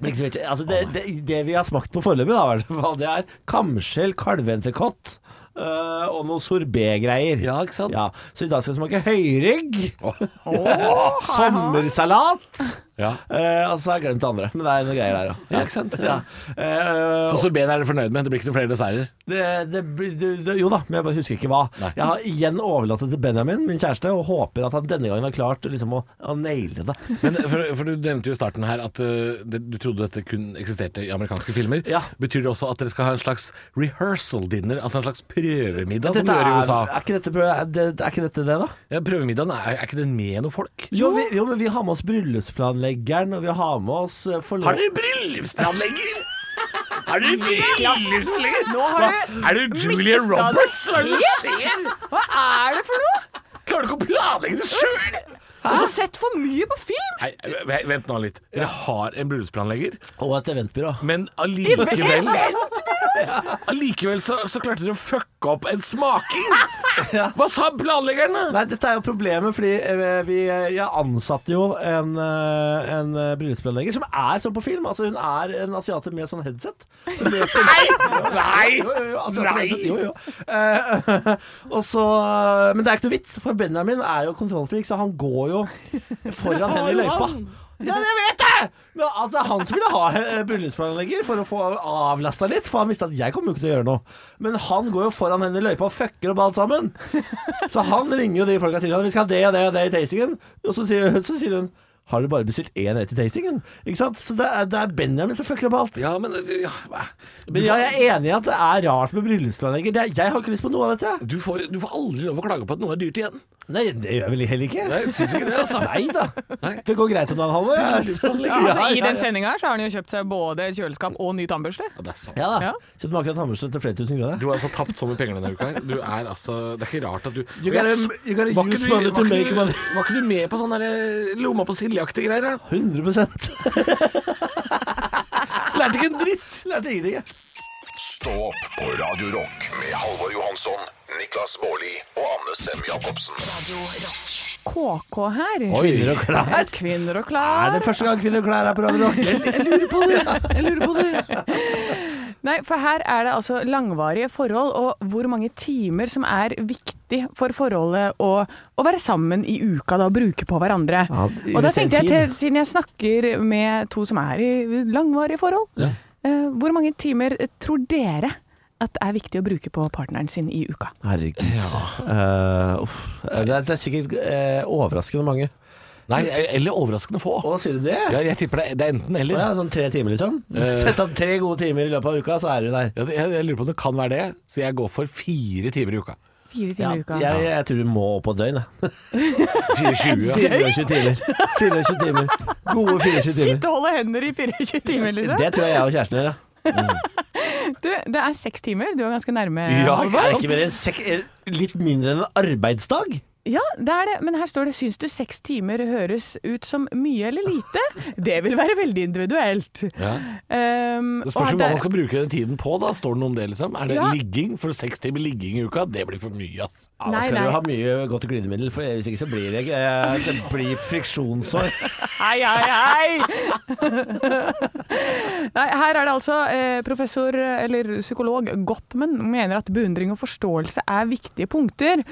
S4: Men ikke så mye. Altså, det, det, det vi har smakt på foreløpig, da, i hvert fall, det er kamskjell, kalveentrekott øh, og noe sorbetgreier.
S5: Ja, ikke sant?
S4: Ja, så i dag skal vi smake høyrygg,
S3: Åh,
S4: sommersalat
S5: Ja.
S4: øh, Og så har jeg glemt det andre, men det er noe greier der òg.
S5: Ja, ikke sant? Ja.
S4: Eh,
S5: Så sorbeten er dere fornøyd med? Det blir ikke noen flere desserter?
S4: det, det, blir- det, det, jo da, men jeg bare husker ikke hva.
S5: Nei.
S4: Jeg har igjen overlatt det til Benjamin, min kjæreste, og håper at han denne gangen har klart liksom, å, å naile det.
S5: Men eh, for, for Du nevnte jo i starten her at eh, det, du trodde dette kun eksisterte i amerikanske filmer.
S4: Ja.
S5: Betyr det også at dere skal ha en slags rehearsal dinner, altså en slags prøvemiddag, som
S4: Dette
S5: de gjør i
S4: er,
S5: USA?
S4: Altså, er, ikke dette, prø- er, det, er ikke dette det, da?
S5: Ja, prøvemiddagen, er, er ikke den med noen folk?
S4: Jo, vi, jo, men vi har med oss bryllupsplanleggeren, og vi har med oss eh, forlo-
S5: Har dere bryllupsplanlegger? Er du bryllupsplanlegger?
S3: Nå har du
S5: Er du Julia
S3: Mistet
S5: Roberts? Hva er det som skjer?
S3: Hva er det for noe?
S5: Klarer du ikke å planlegge det sjøl?
S3: Og så sett for mye på film!
S5: Nei, v- vent nå litt. Dere har en bryllupsplanlegger,
S4: Og et eventbyrå.
S5: men allikevel Allikevel så, så klarte dere å fucke opp en smaking! Hva sa planleggerne?
S4: Nei, dette er jo problemet, fordi eh, vi, eh, jeg ansatte jo en, eh, en eh, bryllupsplanlegger som er sånn på film. Altså, hun er en asiater med sånn headset. Så det-
S5: Nei!
S4: Jo, jo, jo, asiater med
S5: Nei!
S4: headset, jo, jo. Eh, og så, eh, men det er ikke noe vits, for Benjamin er jo kontrollfrik, så han går jo foran henne i løypa. Ja, jeg vet det! Men altså, han som ville ha eh, bryllupsplanlegger for å få avlasta litt, for han visste at jeg kommer jo ikke til å gjøre noe. Men han går jo foran henne i løypa og fucker opp alt sammen. Så han ringer jo de folka og sier sånn Vi skal ha det og det og det i tastingen. Og så sier, så sier hun Har du bare bestilt én rett i tastingen? Ikke sant? Så det er, det er Benjamin som fucker opp alt.
S5: Ja, men ja, hva-
S4: Men ja, jeg er enig i at det er rart med bryllupsplanlegger. Det er- Jeg har ikke lyst på noe av dette.
S5: du, får, du får aldri lov å klage på at noe er dyrt igjen.
S4: Nei, det gjør jeg vel heller ikke.
S5: Nei, jeg syns ikke det, altså.
S4: Nei da.
S5: Nei.
S4: Det går greit om dagen, Halvor. Ja,
S3: Altså, I den
S4: ja, ja.
S3: sendinga har han jo kjøpt seg både kjøleskap og ny tannbørste.
S5: Ja, det er sant.
S4: Ja da.
S3: Ja.
S4: Kjøpte meg akkurat tannbørste til flere tusen kroner.
S5: Du har altså tapt så mye penger denne uka. her. Du er altså Det er ikke rart at du
S4: You gotta- you gotta
S5: Var ikke
S4: use
S5: du-
S4: money to
S5: var ikke
S4: make
S5: du-
S4: money.
S5: Var ikke du med på sånn derre lomma på siljeaktige greier? da?
S4: 100
S5: Lærte ikke en dritt!
S4: Lærte ingenting, jeg.
S1: Stå opp på Radio Rock med Halvor Johansson, Niklas Baarli og Anne Sem Jacobsen.
S7: Radio Rock.
S3: KK her.
S4: Kvinner og klær.
S3: Kvinner og
S4: Er
S3: klær.
S4: det første gang kvinner og klær er på Radio Rock? Jeg lurer på det. Jeg lurer på det.
S3: Nei, for her er det altså langvarige forhold, og hvor mange timer som er viktig for forholdet å, å være sammen i uka da, og bruke på hverandre.
S4: Ja,
S3: og da
S4: invester
S3: tenkte jeg,
S4: tid.
S3: til, siden jeg snakker med to som er i langvarige forhold, eh, hvor mange timer tror dere at det er viktig å bruke på partneren sin i uka?
S4: Herregud. Eh, uff. det, er, det er sikkert eh, overraskende mange.
S5: Nei, eller overraskende få.
S4: Å, sier du det?
S5: Ja, jeg tipper det, det er enten eller.
S4: Ja, sånn tre timer, liksom? Sett av tre gode timer i løpet av uka, så er du der.
S5: Ja, det- jeg, jeg lurer på om det kan være det, så jeg går for fire timer i uka.
S3: Fire
S4: Ja,
S3: timer i uka.
S4: jeg, jeg tror du må opp på døgn, jeg.
S5: 24, ja.
S4: 24 timer. 24 timer. Gode 24 timer.
S3: Sitte og holde hender i 24 timer, liksom.
S4: Det tror jeg jeg og kjæresten gjør, ja.
S3: Du, det er seks timer. Du er ganske nærme.
S5: Ja,
S3: Halvor.
S5: ikke sant?
S4: Er ikke mer enn sek er litt mindre enn en arbeidsdag?
S3: Ja, det er det. Men her står det 'syns du seks timer høres ut som mye eller lite'? Det vil være veldig individuelt.
S5: Ja.
S3: Ehm,
S5: Det
S3: og
S5: spørs jo
S3: her-
S5: hva man skal bruke den tiden på, da. Står det noe om det, liksom? Er det
S3: Ja.
S5: ligging? For seks timer ligging i uka, det blir for mye, ass.
S4: Ja, da
S3: Nei,
S4: skal
S3: nei.
S4: du ha mye godt glidemiddel, for hvis ikke så blir det, eh, det blir friksjonssår.
S3: Hei, hei, hei! Nei, her er det altså eh, professor eller psykolog Gottman mener at beundring og forståelse er viktige punkter,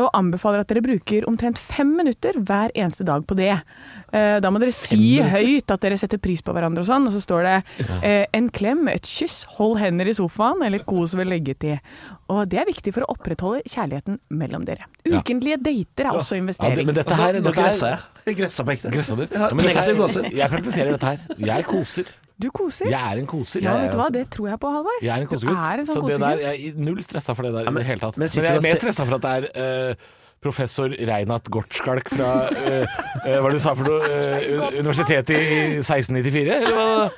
S3: og anbefaler at dere bruker omtrent fem minutter hver eneste dag på det. Eh, da må dere si høyt at dere setter pris på hverandre og sånn, og så står det eh, en klem, et kyss, hold hender i sofaen eller kos ved leggetid. Og det er viktig for å opprettholde kjærligheten mellom dere. Ukentlige dater er også
S5: Ja, det,
S3: investering.
S5: men dette her,
S4: Nå
S5: dette her
S4: grøssa jeg. Jeg grøssa på ekte.
S5: Grøssa du?
S4: Altså, Ja,
S5: men dette
S4: negativ
S5: her,
S4: gåsehud.
S5: jeg praktiserer dette her. Jeg koser.
S3: Du koser.
S5: Jeg er en koser.
S3: Ja,
S5: Jeg er
S3: vet du hva, det tror jeg på, Halvor.
S5: Jeg er en kosegutt.
S3: Du er en sånn
S5: så det der,
S3: kosegutt.
S5: jeg er null stressa for det der i det hele tatt.
S4: men
S5: Men,
S4: sitter
S5: jeg
S4: og
S5: er mer
S4: se-
S5: stressa for at det er eh, professor Reinat Gortskalk fra eh, eh, Hva er det du sa for noe? eh, un- universitetet i 1694? Eller hva?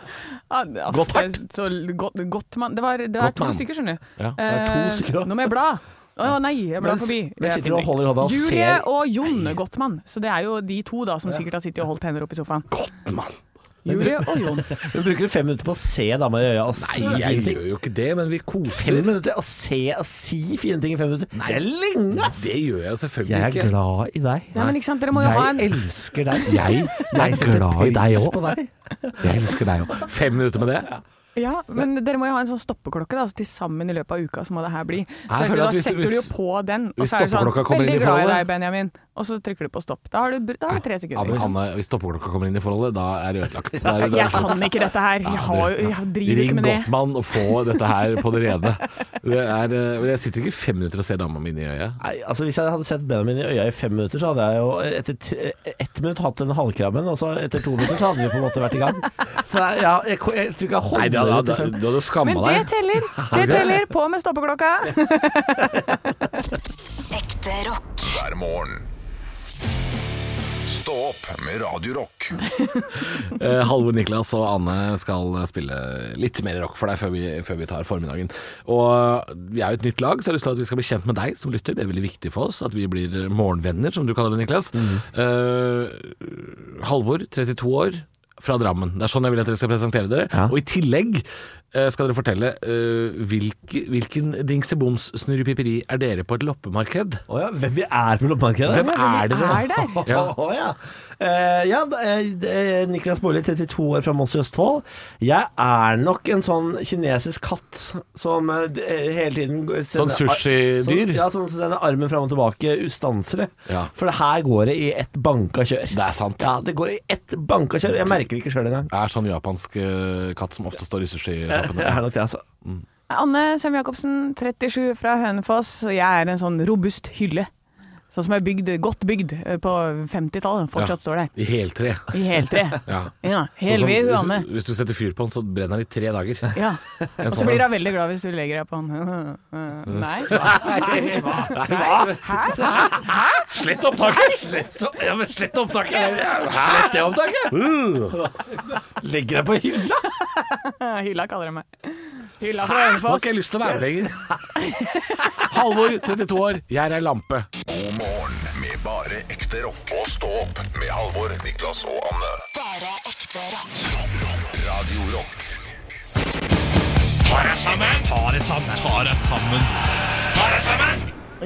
S3: Ja, det- aff,
S5: Godt hardt.
S3: det er Så godt, godt mann. Det var, det var
S5: Godt
S3: to
S5: mann.
S3: stykker, skjønner du.
S5: Ja, det
S4: er to
S3: Eh,
S4: stykker, da.
S3: Nå må jeg bla. Å nei, jeg blar
S4: Men-
S3: forbi.
S4: men
S3: Jeg
S4: sitter du og
S3: finner-
S4: holder hånda og
S3: Julie
S4: ser-
S3: og Jon Gottmann. Så det er jo de to da som sikkert har sittet og holdt hender opp i sofaen.
S5: Gottmann!
S3: Julie og Jon.
S4: Men bruker du fem minutter på å se damer i øya og si
S5: Nei,
S4: fine
S5: jeg
S4: ting?
S5: gjør jo ikke det, men vi
S4: Fem
S5: koser.
S4: minutter å se og si fine ting i fem minutter? Det er lenge, ass!
S5: Det gjør jeg jo selvfølgelig
S4: Jeg er
S5: ikke.
S4: glad i deg.
S3: Nei, men ikke sant, dere må jo ha
S4: Jeg
S3: en
S4: elsker deg. Jeg,
S5: Jeg
S4: jeg
S5: setter
S4: setter
S5: glad i deg
S4: pris
S5: også.
S4: på deg.
S5: Jeg elsker deg òg. Fem minutter med det?
S3: Ja, men dere må jo ha en sånn stoppeklokke, da. Så til sammen i løpet av uka så må det her bli. Så
S5: Jeg
S3: vet du,
S5: føler
S3: da
S5: at hvis-
S3: setter du jo
S5: hvis-
S3: på den, og
S5: hvis
S3: så er det sånn
S5: stoppeklokka kommer inn i
S3: Veldig glad i
S5: forholdet-
S3: deg, Benjamin. Og så trykker du på stopp. Da har du, da har du tre
S5: Ja,
S3: sekunder.
S5: men
S3: ikke sant?
S5: Anne, hvis stoppeklokka kommer inn i forholdet, da er det ødelagt. Da er det- da er
S3: Jeg
S5: det slutt.
S3: kan ikke dette her. Jeg, har, jo- jeg driver
S5: Ring
S3: ikke med det.
S5: Gottmann og få dette her på det rene. Det er, eh, jeg sitter ikke fem minutter og ser dama mi inn i øyet.
S4: Nei, altså Hvis jeg hadde sett bena mine i øya i fem minutter, så hadde jeg jo etter t- ett minutt hatt den halvkrabben, og så etter to minutter så hadde vi på en måte vært i gang. Så jeg, jeg, jeg, jeg tror ikke jeg
S5: Nei,
S4: holder
S5: du hadde,
S4: ut i fem
S5: du hadde skamma
S3: Men
S5: deg.
S3: det teller. Det teller. På med stoppeklokka.
S7: Ekte rock.
S1: hver morgen. Stå opp med Radio Rock.
S5: Eh, Halvor Niklas og Anne skal spille litt mer rock for deg før vi, før vi tar formiddagen. Og vi er jo et nytt lag, så jeg har lyst til at vi skal bli kjent med deg som lytter. Det er veldig viktig for oss at vi blir morgenvenner, som du kaller det, Niklas. Eh, Halvor, 32 år, fra Drammen. Det er sånn jeg vil at dere skal presentere dere.
S4: Ja.
S5: Og i tillegg eh, skal dere fortelle eh, hvilke, hvilken dingsebomssnurrepiperi er dere på et loppemarked?
S4: Å ja, hvem vi er på loppemarkedet?
S5: Hvem er dere?
S3: er der?
S5: Ja.
S4: Å ja. Eh, ja, da, eh, eh, Niklas Baarli, 32 år fra Mons i Østfold. Jeg er nok en sånn kinesisk katt som eh, d- eh, hele tiden går- sender-
S5: sushidyr?
S4: Sånn, ja, sånn som sender armen fram og tilbake ustanselig.
S5: Ja.
S4: For det her går det i ett banka kjør.
S5: Det er sant.
S4: Ja, det går i ett banka kjør. Jeg merker det ikke sjøl engang.
S5: Det er sånn japansk eh, katt som ofte står i sushisjappene.
S4: Jeg er nok det, altså.
S3: Anne Sem Jacobsen, 37 fra Hønefoss. og Jeg er en sånn robust hylle. Sånn som er bygd, godt bygd eh, på 50-tallet. Fortsatt
S5: Ja.
S3: står der.
S5: I heltre.
S3: I heltre.
S5: Ja.
S3: Ja, Helvid
S5: Sånn som-
S3: Huanne.
S5: hvis, hvis du setter fyr på den, så brenner den i tre dager.
S3: Ja. Og så
S5: sånn
S3: blir
S5: en.
S3: hun veldig glad hvis du legger deg på han. Nei? Nei.
S5: Slett opptaket! Slett, ja, men slett opptaket! Slett det opptaket!
S4: Uh. Legger deg på hylla!
S3: Hylla kaller de meg. Hylla fra
S5: Nå har
S3: Hønefoss.
S5: ikke jeg lyst til å være med lenger. Halvor, 32 år, jeg er ei lampe.
S1: God morgen med bare ekte rock. Og stå opp med Halvor, Niklas og Anne.
S7: Bare ekte rock.
S1: Radio Rock.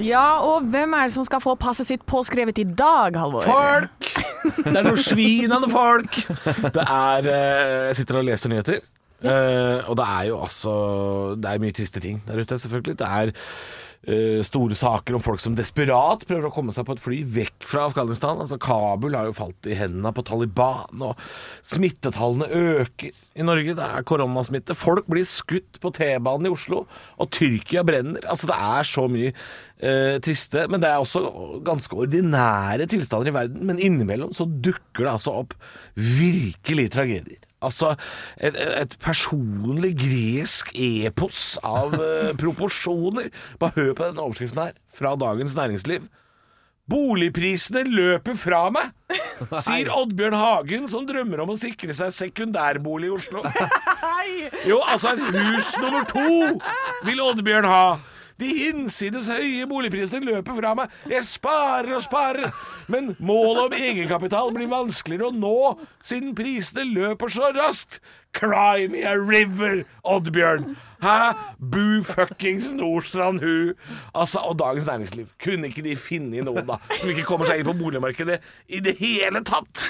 S3: Ja, og hvem er det som skal få passet sitt påskrevet i dag, Halvor?
S5: Folk! Det er noen svinende folk! Det er eh, Jeg sitter og leser nyheter. eh, og det er jo altså Det er mye triste ting der ute, selvfølgelig. Det er eh, store saker om folk som desperat prøver å komme seg på et fly vekk fra Afghanistan. Altså Kabul har jo falt i hendene på Taliban, og smittetallene øker i Norge. Det er koronasmitte. Folk blir skutt på T-banen i Oslo, og Tyrkia brenner. Altså Det er så mye eh, triste, men det er også ganske ordinære tilstander i verden. Men innimellom så dukker det altså opp virkelige tragedier. Altså et, et et personlig gresk epos av eh, proporsjoner. Bare hør på den overskriften her, fra Dagens Næringsliv. Boligprisene løper fra meg, sier Oddbjørn Hagen, som drømmer om å sikre seg sekundærbolig i Oslo. Jo, altså et hus nummer to vil Oddbjørn ha. De hinsides høye boligprisene løper fra meg. Jeg sparer og sparer, men målet om egenkapital blir vanskeligere å nå siden prisene løper så raskt. Cry me a river, Oddbjørn. Hæ? Bu fuckings Nordstrand hu. Altså, og Dagens Næringsliv. Kunne ikke de finne noen, da, som ikke kommer seg inn på boligmarkedet i det hele tatt?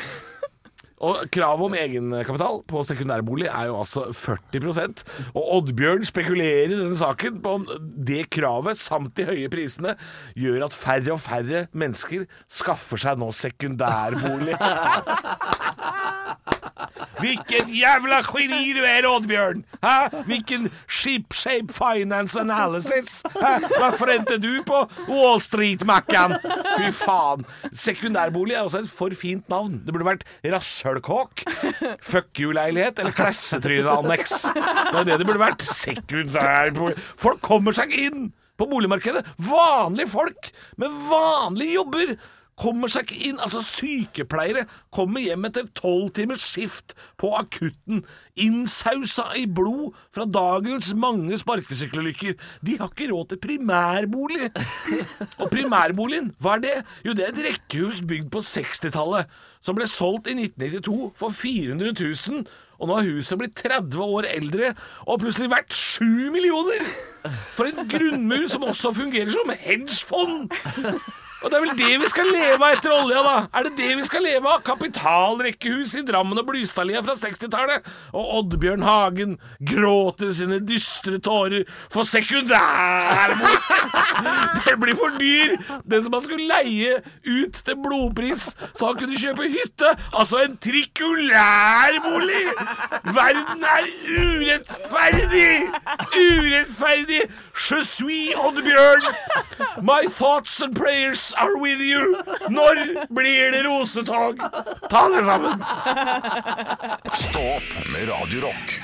S5: Og kravet om egenkapital på sekundærbolig er jo altså 40 Og Oddbjørn spekulerer i denne saken på om det kravet, samt de høye prisene, gjør at færre og færre mennesker skaffer seg nå sekundærbolig. Hvilket jævla geni du er, Oddbjørn! Hæ? Hvilken shipshape finance analysis! Hæ? Hva forente du på Wall Street-Maccan? Fy faen. Sekundærbolig er også et for fint navn. Det burde vært rasshølkåk, fuck you-leilighet eller klassetryne-anneks. Det er det det burde vært. Sekundærbolig Folk kommer seg ikke inn på boligmarkedet. Vanlige folk med vanlige jobber kommer seg ikke inn. Altså, sykepleiere kommer hjem etter tolv timers skift på akutten, innsausa i blod fra dagens mange sparkesykkelulykker. De har ikke råd til primærbolig. Og primærboligen, hva er det? Jo, det er et rekkehus bygd på 60-tallet, som ble solgt i 1992 for 400 000. Og nå har huset blitt 30 år eldre og plutselig verdt 7 millioner! For en grunnmur som også fungerer som hedgefond! Og det er vel det vi skal leve av etter olja, da? Er det det vi skal leve av? Kapitalrekkehus i Drammen og Blystadlia fra 60-tallet. Og Oddbjørn Hagen gråter sine dystre tårer for sekundærbolig. Det blir for dyr! Den som han skulle leie ut til blodpris, så han kunne kjøpe hytte. Altså en trikulærbolig! Verden er urettferdig! Urettferdig! Je suis Oddbjørn! My thoughts and prayers are with you! Når blir det rosetog? Ta dere sammen!
S1: Stå opp med Radio Rock.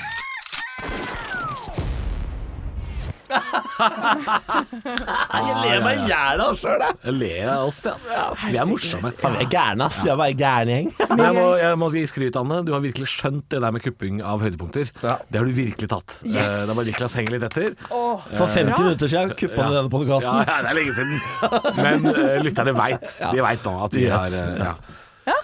S4: Jeg ler meg i hjel av sjøl, jeg.
S5: Jeg ler av oss, ass. Vi er morsomme.
S4: Faen, vi er gærne, ass. Vi er bare gærne gjeng.
S5: Men jeg må, jeg må gi skryt, Anne. Du har virkelig skjønt det der med kupping av høydepunkter. Det har du virkelig tatt.
S3: Yes.
S5: Eh, Det var Niklas henger litt etter.
S3: Åh,
S4: For 50
S3: bra.
S4: minutter siden kuppa du denne
S5: Ja,
S4: podkasten.
S5: ja, det er lenge siden. Men eh, lytterne veit. De veit nå at vi
S4: De vet.
S5: har eh, ja.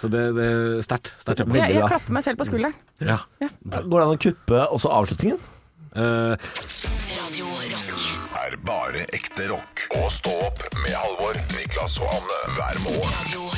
S5: Så det det er sterkt. Sterkt jobba.
S3: Jeg, jeg
S4: bra.
S3: klapper meg selv på skulderen.
S5: Ja.
S4: Går det an å kuppe også avslutningen?
S5: Eh,
S7: Radio Rock.
S1: er bare ekte rock. Og stå opp med Halvor, Niklas og Anne hver morgen.
S7: Radio